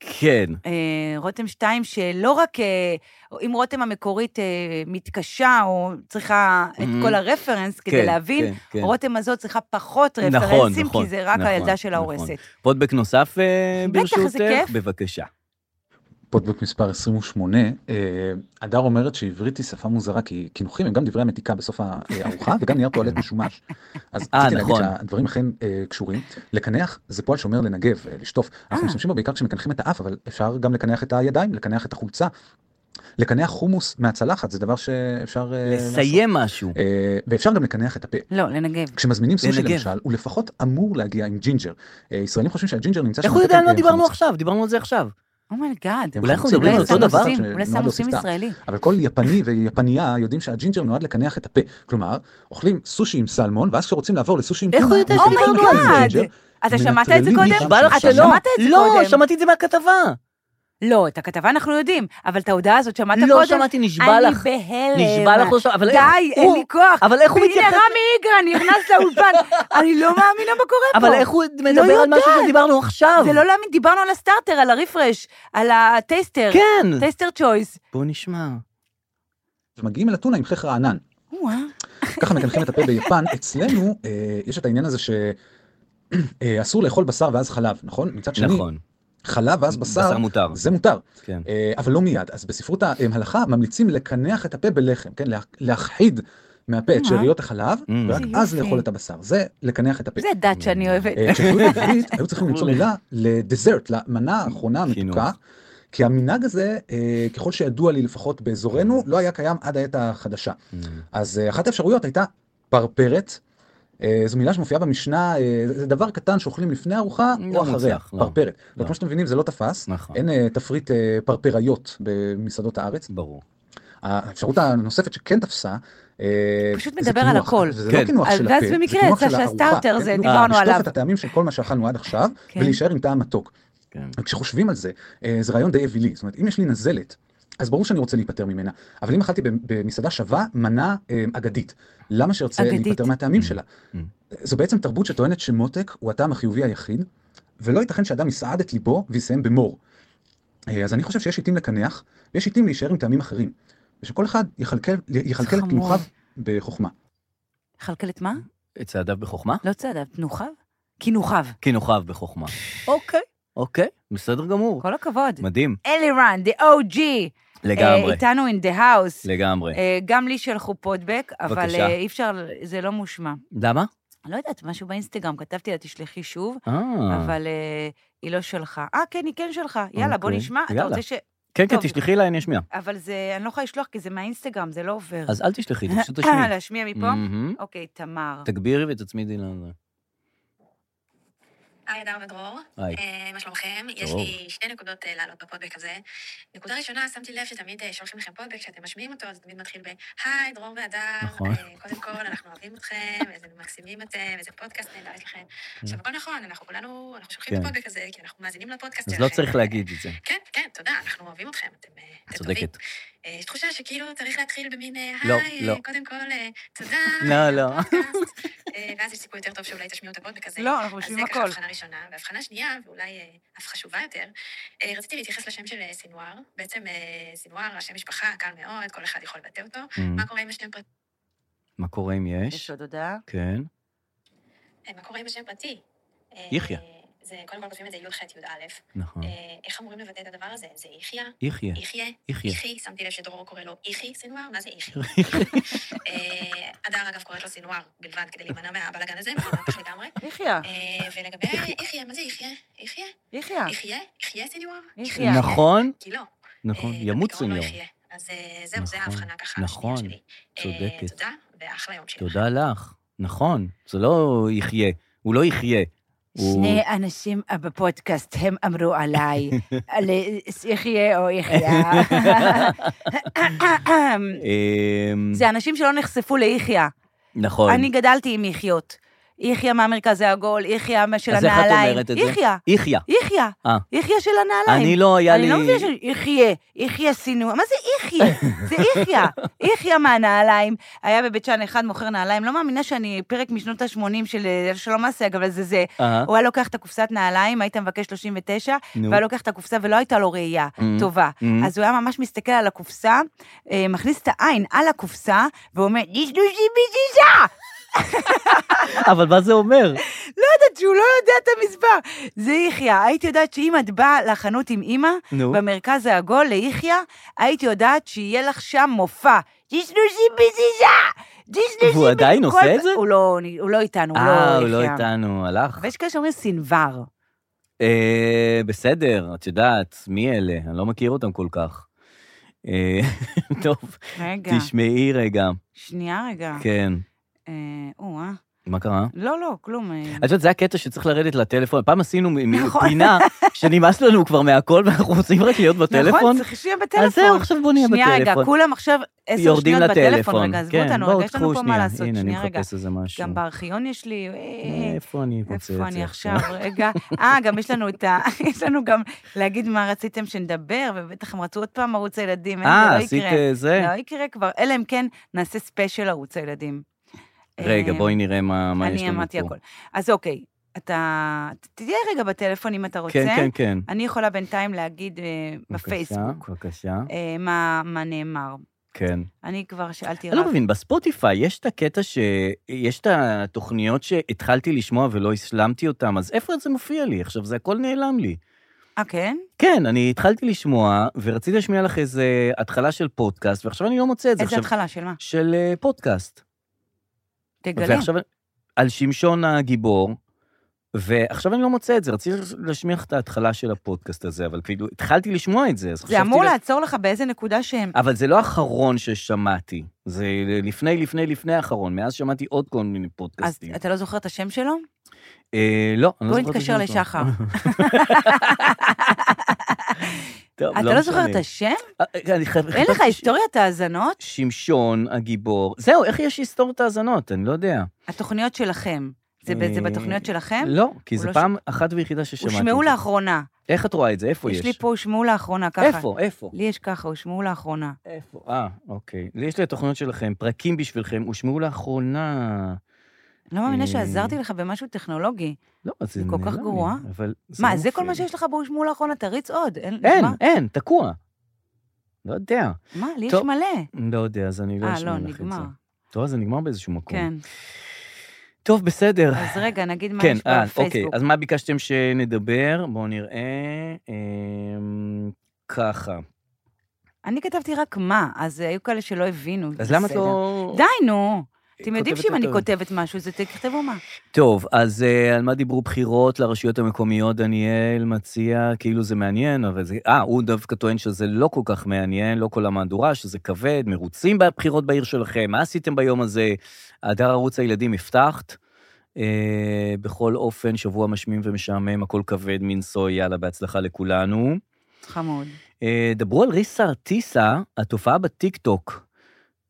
כן.
אה, רותם 2, שלא רק אה, אם רותם המקורית אה, מתקשה או צריכה את
Mhm.
כל הרפרנס כדי
כן,
להבין,
כן, כן.
רותם הזאת צריכה פחות
נכון,
רפרנסים,
נכון,
כי זה רק
נכון,
הילדה שלה
נכון.
הורסת.
פודבק נוסף, אה,
בטח, זה
ברשותך?
כיף.
אה,
בבקשה.
פודבוק מספר 28, אה, הדר אומרת שעברית היא שפה מוזרה, כי קינוחים הם גם דברי המתיקה בסוף הארוחה, וגם נייר טואלט משומש. אז
אה,
רציתי להגיד
נכון.
שהדברים אכן אה, קשורים. לקנח זה פועל שאומר לנגב, אה, לשטוף. אנחנו משתמשים בו בעיקר כשמקנחים את האף, אבל אפשר גם לקנח את הידיים, לקנח את החולצה. לקנח חומוס מהצלחת, זה דבר שאפשר... אה, לעשות.
לסיים משהו.
אה, ואפשר גם לקנח את הפה.
לא, לנגב.
כשמזמינים סושי
לנגב.
למשל, הוא לפחות אמור להגיע עם ג'ינג'ר. אה, ישראלים חושבים שהג'ינג'ר נמצא שם...
איך הוא יודע
בתקן,
על מה
אה,
דיברנו
חמוץ.
עכשיו? דיברנו על זה עכשיו.
אומייגאד.
אולי אנחנו
חמוצים,
מדברים על
זה
אותו
דבר
דבר?
שנועד
Oh אולי
להוסיף
סמוסים
טעם.
ישראלי.
אבל כל יפני ויפניה יודעים שהג'ינג'ר נועד לקנח את הפה. כלומר, אוכלים סושי עם סלמון, ואז כשרוצים לעבור לסושי עם
איך הוא יודע שדיברנו על זה?
ג'ינג'ר,
לא אתה שמעת את זה
מנטרלים
קודם?
שם
בא לך
שם
שלא?
שם.
שמעת את זה
לא,
קודם.
שמעתי את זה מהכתבה.
לא, את הכתבה אנחנו יודעים, אבל את ההודעה הזאת שמעת קודם?
לא שמעתי, נשבע לך.
אני בהלם.
נשבע לך, לא שמע- אבל
די,
איך-
אין
הוא-
לי כוח.
אבל איך הוא מתייחס-
הנה, רמי איגרן נכנס לאולפן. אני לא מאמינה מה קורה פה.
אבל איך הוא
לא
מדבר על משהו
יודעת.
שדיברנו עכשיו?
זה לא להאמין, דיברנו על הסטארטר, על הרפרש, על הטייסטר.
כן.
טייסטר צ'ויס.
בוא נשמע.
מגיעים אל אתונה עם חך רענן.
וואו.
ככה מקנחים את הפה ביפן. אצלנו אה, יש את העניין הזה ש... אה, אסור לאכול בשר ואז חלב, נכון? מצד שני,
נכון.
חלב ואז
בשר
בשר,
מותר.
זה מותר.
כן.
אה, אבל לא מיד. אז בספרות ההלכה ממליצים לקנח את הפה בלחם, כן? לה- להכחיד מהפה את
אה.
שאריות החלב,
Mm.
ורק
איזה
אז
יופי.
לאכול את הבשר. זה לקנח את הפה.
זה דת שאני אוהבת.
אוקיי.
אה, כשהיו בעברית, היו צריכים למצוא
אולי.
מילה לדזרט, למנה האחרונה המתוקה.
אוקיי. חינוך.
כי המנהג הזה, אה, ככל שידוע לי לפחות
כן.
באזורנו, לא היה קיים עד העת החדשה.
Mm.
אז אה, אחת האפשרויות הייתה פרפרת. אה, זו מילה שמופיעה במשנה, אה, זה דבר קטן שאוכלים לפני ארוחה
לא
או אחריה,
מוצלח, לא.
פרפרת.
לא.
אבל כמו שאתם מבינים זה לא תפס,
נכון.
אין אה, תפריט אה, פרפריות במסעדות הארץ.
ברור.
האפשרות הנוספת שכן תפסה, אה,
פשוט
זה
מדבר על
קינוח.
הכל.
זה
כן.
לא קינוח
אז-
של הפה,
ואז
זה
במקרה
קינוח
יצא
של הארוחה,
שהסטארטר
כן,
זה,
בדיוק.
דיברנו עליו.
לשטוף את הטעמים של כל מה שאכלנו עד עכשיו,
כן.
ולהישאר עם טעם מתוק.
כן.
כשחושבים על זה, אה, זה רעיון די אווילי. זאת אומרת, אם יש לי נזלת, אז ברור שאני רוצה להיפטר ממנה, אבל אם אכלתי במסעדה שווה, מנה אה, אגדית. למה שארצה
אגדית.
להיפטר מהטעמים
Mm,
שלה?
mm.
זו בעצם תרבות שטוענת שמותק הוא הטעם החיובי היחיד, ולא ייתכן שאדם יסעד את ליבו ויסיים במור. אה, אז אני חושב שיש עיתים לקנח, ויש עיתים להישאר עם טעמים אחרים. ושכל אחד יכלכל, יכלכל את
חמוד.
קינוחיו בחוכמה.
חלקלת מה?
את צעדיו בחוכמה?
לא צעדיו, תנוחיו? קינוחיו.
קינוחיו בחוכמה.
אוקיי.
אוקיי, בסדר גמור.
כל הכבוד.
מדהים.
אלירן, the OG. אה,
לגמרי.
איתנו in the house.
לגמרי.
אה, גם לי שלחו פודבק, אבל
בבקשה.
אה, אי אפשר, זה לא מושמע.
למה?
לא יודעת, משהו באינסטגרם, כתבתי לה, תשלחי שוב,
אה.
אבל אה, היא לא שלחה. אה, כן, היא כן שלחה. יאללה, בוא
אוקיי.
נשמע. אתה
יאללה.
רוצה ש...
כן, כן,
טוב.
תשלחי לה, אני אשמיע.
אבל זה, אני לא יכולה לשלוח, כי זה מהאינסטגרם, זה לא עובר. אה,
אז Mm. אל תשלחי, פשוט תשמיעי.
להשמיע מפה?
מהמם.
אוקיי, תמר.
תגבירי ותצמידי לנו.
היי, אדר ודרור.
היי.
אה, מה שלומכם? יש
דרור.
לי שתי נקודות אה, לעלות בפודבק הזה. נקודה ראשונה, שמתי לב שתמיד אה, שולחים לכם פודבק, כשאתם משמיעים אותו, אז זה תמיד מתחיל ב... היי, דרור והדר.
נכון.
אה, קודם כל, אנחנו אוהבים אתכם, איזה מקסימים אתם, איזה פודקאסט נהדר יש לכם. עכשיו, הכל נכון, אנחנו כולנו, אנחנו שולחים את
Mm. כן.
הפודבק הזה, כי אנחנו מאזינים לפודקאסט
אז
שלכם.
לא צריך להגיד את זה.
כן, כן, תודה, אנחנו אוהבים אתכם, אתם אה,
את
אתם טובים.
צודקת.
אה, יש תחושה שכאילו צריך להתחיל במין, אה,
לא,
היי,
לא.
אה, קודם כל, אה, תודה.
לא,
אה,
לא.
הפודקאסט." אה, ואז יש סיכוי יותר טוב שאולי תשמיעו את הפודבק הזה.
לא, אנחנו
אז
משמיעים
זה ככה
הכל.
הבחנה ראשונה, והבחנה שנייה, ואולי אה, אף חשובה יותר, אה, רציתי להתייחס לשם של אה, סינואר. בעצם אה, סינואר, השם משפחה, קל מאוד, כל אחד יכול לבטא אותו.
מהמם.
מה קורה עם השם פרטי?
מה קורה אם
יש
יש?
עוד הודעה?
כן.
מה קורה עם השם פרטי? אה,
יחיא.
זה קודם כל כותבים את זה י"ח י"א.
נכון.
אה, איך אמורים לבטא את הדבר הזה? זה יחיה,
יחיה.
יחיה,
יחיה.
יחי, שמתי לב שדרור קורא לו יחי סנוואר, מה זה יחי? אה, הדר אגב קוראת לו סנוואר בלבד כדי להימנע מהבלאגן הזה, מבינה אותך לגמרי.
יחיה,
אה, ולגבי יחיה, מה זה יחיה? יחיה?
יחיה,
יחיה? יחיה סנוואר?
יחיה.
נכון,
כי לא.
נכון,
אה,
ימות
הפתרון לא
סניור.
יחיה. אז אה, זהו, זה
נכון,
ההבחנה ככה. השנייה
נכון,
שלי. אה,
צודקת.
תודה, ואחלה יום שלך.
תודה לך. נכון, זה לא יחיה, הוא לא יחיה. הוא-
שני אנשים אה, בפודקאסט, הם אמרו עליי, על יחיה או יחיה.
אמ,
זה אנשים שלא נחשפו ליחיה.
נכון.
אני גדלתי עם יחיות. יחיה מהמרכז העגול, יחיה מה- של
אז איך את
הנעליים.
אומרת את זה?
יחיה,
יחיה.
יחיה.
אה.
יחיה של הנעליים.
אני לא היה לי...
אני לא מבינה שיחיה, יחיה סינוע, מה זה יחיה? זה יחיה, יחיה מהנעליים. היה בבית שאן אחד מוכר נעליים, לא מאמינה שאני פרק משנות ה-80 של אה, שלום אסייג, אבל זה זה.
אה,
הוא היה לוקח את הקופסת נעליים, היית מבקש 39,
נו.
והיה לוקח את הקופסה ולא הייתה לו ראייה טובה.
Mm.
אז הוא היה ממש מסתכל על הקופסה, אה, מכניס את העין על הקופסה, ואומר, יש לו שיביזיזה!
אבל מה זה אומר?
לא יודעת שהוא לא יודע את המספר. זה יחיה, הייתי יודעת שאם את באה לחנות עם אימא,
נו.
במרכז העגול ליחיא, הייתי יודעת שיהיה לך שם מופע. תשלושים בזיזה! תשלושים
והוא עדיין
כל-
עושה את זה?
הוא לא, הוא לא איתנו, הוא לא יחיא.
אה, הוא לא איתנו, הלך.
ויש כאלה שאומרים סנוור.
אה, בסדר, את יודעת, מי אלה? אני לא מכיר אותם כל כך. אה, טוב,
רגע,
תשמעי רגע.
שנייה רגע.
כן.
אה, או-אה.
מה קרה?
לא, לא, כלום. אה.
את יודעת, זה הקטע שצריך לרדת לטלפון. פעם עשינו מ- מ-
נכון.
פינה שנמאס לנו כבר מהכל ואנחנו רוצים רק להיות
נכון,
בטלפון.
צריך שיהיה בטלפון.
אז זהו, עכשיו בוא נהיה
שנייה רגע,
בטלפון.
כולם עכשיו עשר
יורדים
שניות בטלפון.
לטלפון.
רגע, עזבו
כן,
אותנו,
בואו,
רגע, יש לנו
קחו
פה מה
שנייה.
לעשות.
הנה, אני
שנייה רגע.
מחפש איזה משהו.
גם בארכיון יש לי... אה,
איפה אני כן. מוצא את זה?
איפה אני עכשיו? רגע. אה, גם יש לנו את ה... יש לנו גם להגיד מה רציתם שנדבר, ובטח הם רצו עוד פעם ערוץ הילדים. אין, זה
אה,
לא
עשית
יקרה.
אה, זה?
לא יקרה כבר, אלא אם כן נעשה ספיישל ערוץ הילדים.
רגע,
אה,
בואי נראה מה מה יש לנו פה.
אני אמרתי הכל. אז אוקיי, אתה... ת- תהיה רגע בטלפון אם אתה רוצה.
כן, כן, כן.
אני יכולה בינתיים להגיד אה, בפייסבוק
בבקשה, בבקשה.
אה, מה מה נאמר.
כן.
אני כבר שאלתי
אני
רב.
לא מבין, בספוטיפיי יש את הקטע ש... יש את התוכניות שהתחלתי לשמוע ולא השלמתי אותן, אז איפה זה מופיע לי? עכשיו, זה הכל נעלם לי.
אה, כן?
כן, אני התחלתי לשמוע, ורציתי להשמיע לך איזה התחלה של פודקאסט, ועכשיו אני לא מוצא את זה.
איזה
עכשיו,
התחלה, של מה?
של אה, פודקאסט.
תגלה.
ועכשיו, על שמשון הגיבור, ועכשיו אני לא מוצא את זה, רציתי להשמיע לך את ההתחלה של הפודקאסט הזה, אבל כאילו, התחלתי לשמוע את זה, אז חשבתי...
זה אמור
לה-
לעצור לך באיזה נקודה שהם...
אבל זה לא האחרון ששמעתי, זה לפני, לפני, לפני האחרון, מאז שמעתי עוד כל מיני
אז
פודקאסטים.
אתה לא זוכר את השם שלו?
אה, לא, אני לא
בוא
זוכר את
נתקשר
השם שלו.
לשחר.
טוב,
אתה לא זוכר
משנה.
את השם?
אה, אני חייב-
אין לך
חיפשתי ש-
היסטוריית האזנות?
שמשון הגיבור. זהו, איך יש היסטוריית האזנות? אני לא יודע.
התוכניות שלכם. זה ב- זה
אה,
בתוכניות שלכם?
לא, כי
הוא
זו
לא
פעם אחת ויחידה ששמעתי.
הושמעו
את זה.
לאחרונה.
איך את רואה את זה? איפה יש?
יש לי פה הושמעו לאחרונה, ככה.
איפה? איפה?
לי יש ככה, הושמעו לאחרונה.
איפה? אה, אוקיי. לי יש לי התוכניות שלכם, פרקים בשבילכם, הושמעו לאחרונה.
לא מאמינה
אה.
שעזרתי לך במשהו טכנולוגי.
לא, אז זה
כל כך
נעלם לי,
גרועה?
אבל
מה,
לא
זה כל
מופיע
מה
לי.
שיש לך בהושמעו לאחרונה? תריץ עוד. אין,
אין,
מה?
אין, תקוע. לא יודע.
מה, לי יש
טוב.
מלא.
לא יודע, אז אני לא
אה,
אשמע
לא,
לך את זה.
נגמר.
טוב, אז זה נגמר באיזשהו מקום.
כן.
טוב, בסדר.
אז רגע, נגיד מה
כן,
יש
אה, אוקיי.
בפייסבוק.
אז מה ביקשתם שנדבר? בואו נראה. אמ, ככה.
אני כתבתי רק מה, אז היו כאלה שלא הבינו.
אז למה את
בסדר.
לא...
די, נו. אתם יודעים
כותבת לא
שאם אני
יותר?
כותבת משהו, זה תכתבו מה.
טוב, אז אה, על מה דיברו בחירות לרשויות המקומיות? דניאל מציע, כאילו זה מעניין, אבל זה... אה, הוא דווקא טוען שזה לא כל כך מעניין, לא כל המהדורה, שזה כבד, מרוצים בבחירות בעיר שלכם, מה עשיתם ביום הזה? הדר ערוץ הילדים הבטחת? אה, בכל אופן, שבוע משמים ומשעמם, הכל כבד מנשוא, יאללה, בהצלחה לכולנו.
חמוד.
אה, דברו על ריסה ארטיסה, התופעה בטיקטוק.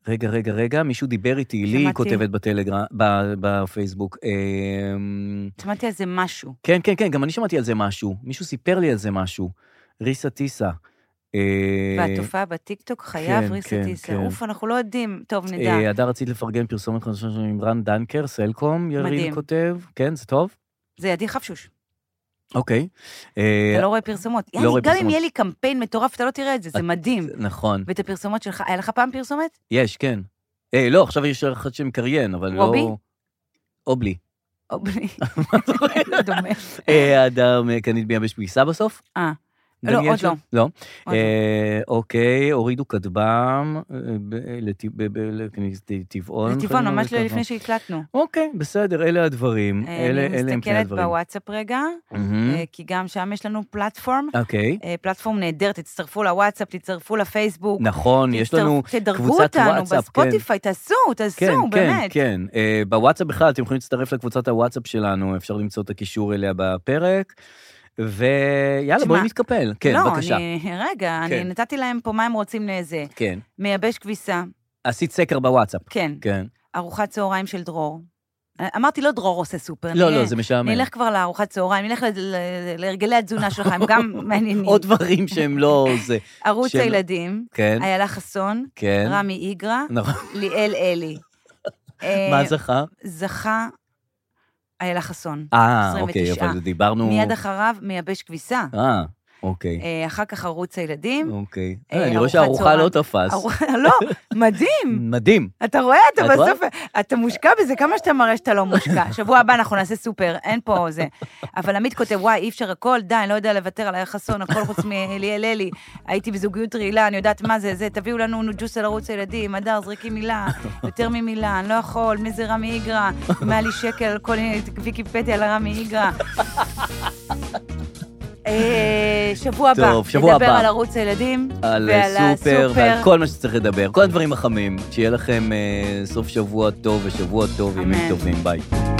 רגע, רגע, רגע, מישהו דיבר איתי, לי היא
שמעתי.
כותבת בטלגרם, ב- בפייסבוק. אמ,
שמעתי על זה משהו.
כן, כן, כן, גם אני שמעתי על זה משהו. מישהו סיפר לי על זה משהו. ריסה טיסה. אה,
והתופעה בטיקטוק חייב
כן,
ריסה
כן,
טיסה.
כן.
אוף, אנחנו לא יודעים. טוב, נדע.
אה, הדר רצית לפרגן פרסומת חדשה שלנו עם רן דנקר, סלקום, יריב
מדהים.
כותב. כן, זה טוב?
זה ידי חפשוש.
אוקיי. אה,
אתה לא רואה פרסומות.
לא
יעני,
רואה
גם אם
פרסומות. אה,
יהיה לי קמפיין מטורף, אתה לא תראה את זה, זה
את-
מדהים.
נכון,
ואת הפרסומות שלך, היה לך פעם פרסומת?
יש, כן. אה, לא, עכשיו יש אחד שמקריין, אבל לא...
רובי?
או בלי.
או בני. דומה.
אה, אדם, אה, קנית מייבש כביסה בסוף?
אה. לא,
דניאל
עוד
שם?
לא.
לא.
עוד
אה, אוקיי, הורידו כטב"ם אה, ב- לטבע- ב- ב- לטבעון.
לטבעון,
קנו
ממש
כטב"ם.
לפני שהקלטנו.
אוקיי, בסדר, אלה הדברים.
אה,
אלה אלה
אני
הם פני
מסתכלת
הדברים.
בוואטסאפ רגע,
מהמם.
אה, כי גם שם יש לנו פלטפורם.
אוקיי.
אה, פלטפורם נהדרת, תצטרפו לוואטסאפ, תצטרפו לפייסבוק.
נכון, יש לנו
תצטרפו- תדרגו
קבוצת
אותנו
וואטסאפ, כן.
בספוטיפיי, תעשו, תעשו,
כן,
באמת.
כן. אה, בוואטסאפ בכלל, אתם יכולים להצטרף לקבוצת הוואטסאפ שלנו, אפשר למצוא את הקישור אליה בפרק. ויאללה,
תשמע,
בואי נתקפל. כן,
לא,
בבקשה.
אני, רגע, אני
כן.
נתתי להם פה מה הם רוצים לזה.
כן.
מייבש כביסה,
עשית סקר בוואטסאפ.
כן.
כן.
ארוחת צהריים של דרור. אמרתי, לא דרור עושה סופר.
לא,
נהיה-
לא, זה משעמם.
נלך כבר לארוחת צהריים, נלך ל- ל- להרגלי התזונה שלך, הם גם מעניינים.
עוד דברים שהם לא זה.
ערוץ
של-
הילדים,
כן,
איילה חסון,
כן.
רמי איגרא,
נכון.
ליאל אלי. אה,
מה זכה?
זכה איילה חסון.
אה, אוקיי,
29.
אבל דיברנו...
מיד אחריו, מייבש כביסה.
אה, אוקיי.
אה, אחר כך ערוץ הילדים.
אוקיי.
אה,
אה, אני רואה
ארוחת
שהארוחה
צהריים.
לא תפס.
ארוח- לא, מדהים.
מדהים.
אתה רואה, אתה
את
בסוף, אתה מושקע בזה, כמה שאתה מראה שאתה לא מושקע. שבוע הבא אנחנו נעשה סופר, אין פה זה. אבל עמית כותב, וואי, אי אפשר הכל, די, אני לא יודע לוותר על היחסון, הכל חוץ מאליאל אלי. הייתי בזוגיות רעילה, אני יודעת מה זה, זה, תביאו לנו נו ג'וס על ערוץ הילדים, הדר, זריקי מילה, יותר ממילה, אני לא יכול, מי זה רמי איגרא, מה לי שקל על כל ויקיפדיה על רמי איגרא. אה, שבוע הבא,
טוב, שבוע
נדבר
הבא.
על ערוץ הילדים,
על
ועל
אה, סופר ועל
הסופר.
כל מה שצריך לדבר. כל הדברים החמים. שיהיה לכם אה, סוף שבוע טוב ושבוע טוב, ימים
אמן.
טובים. ביי.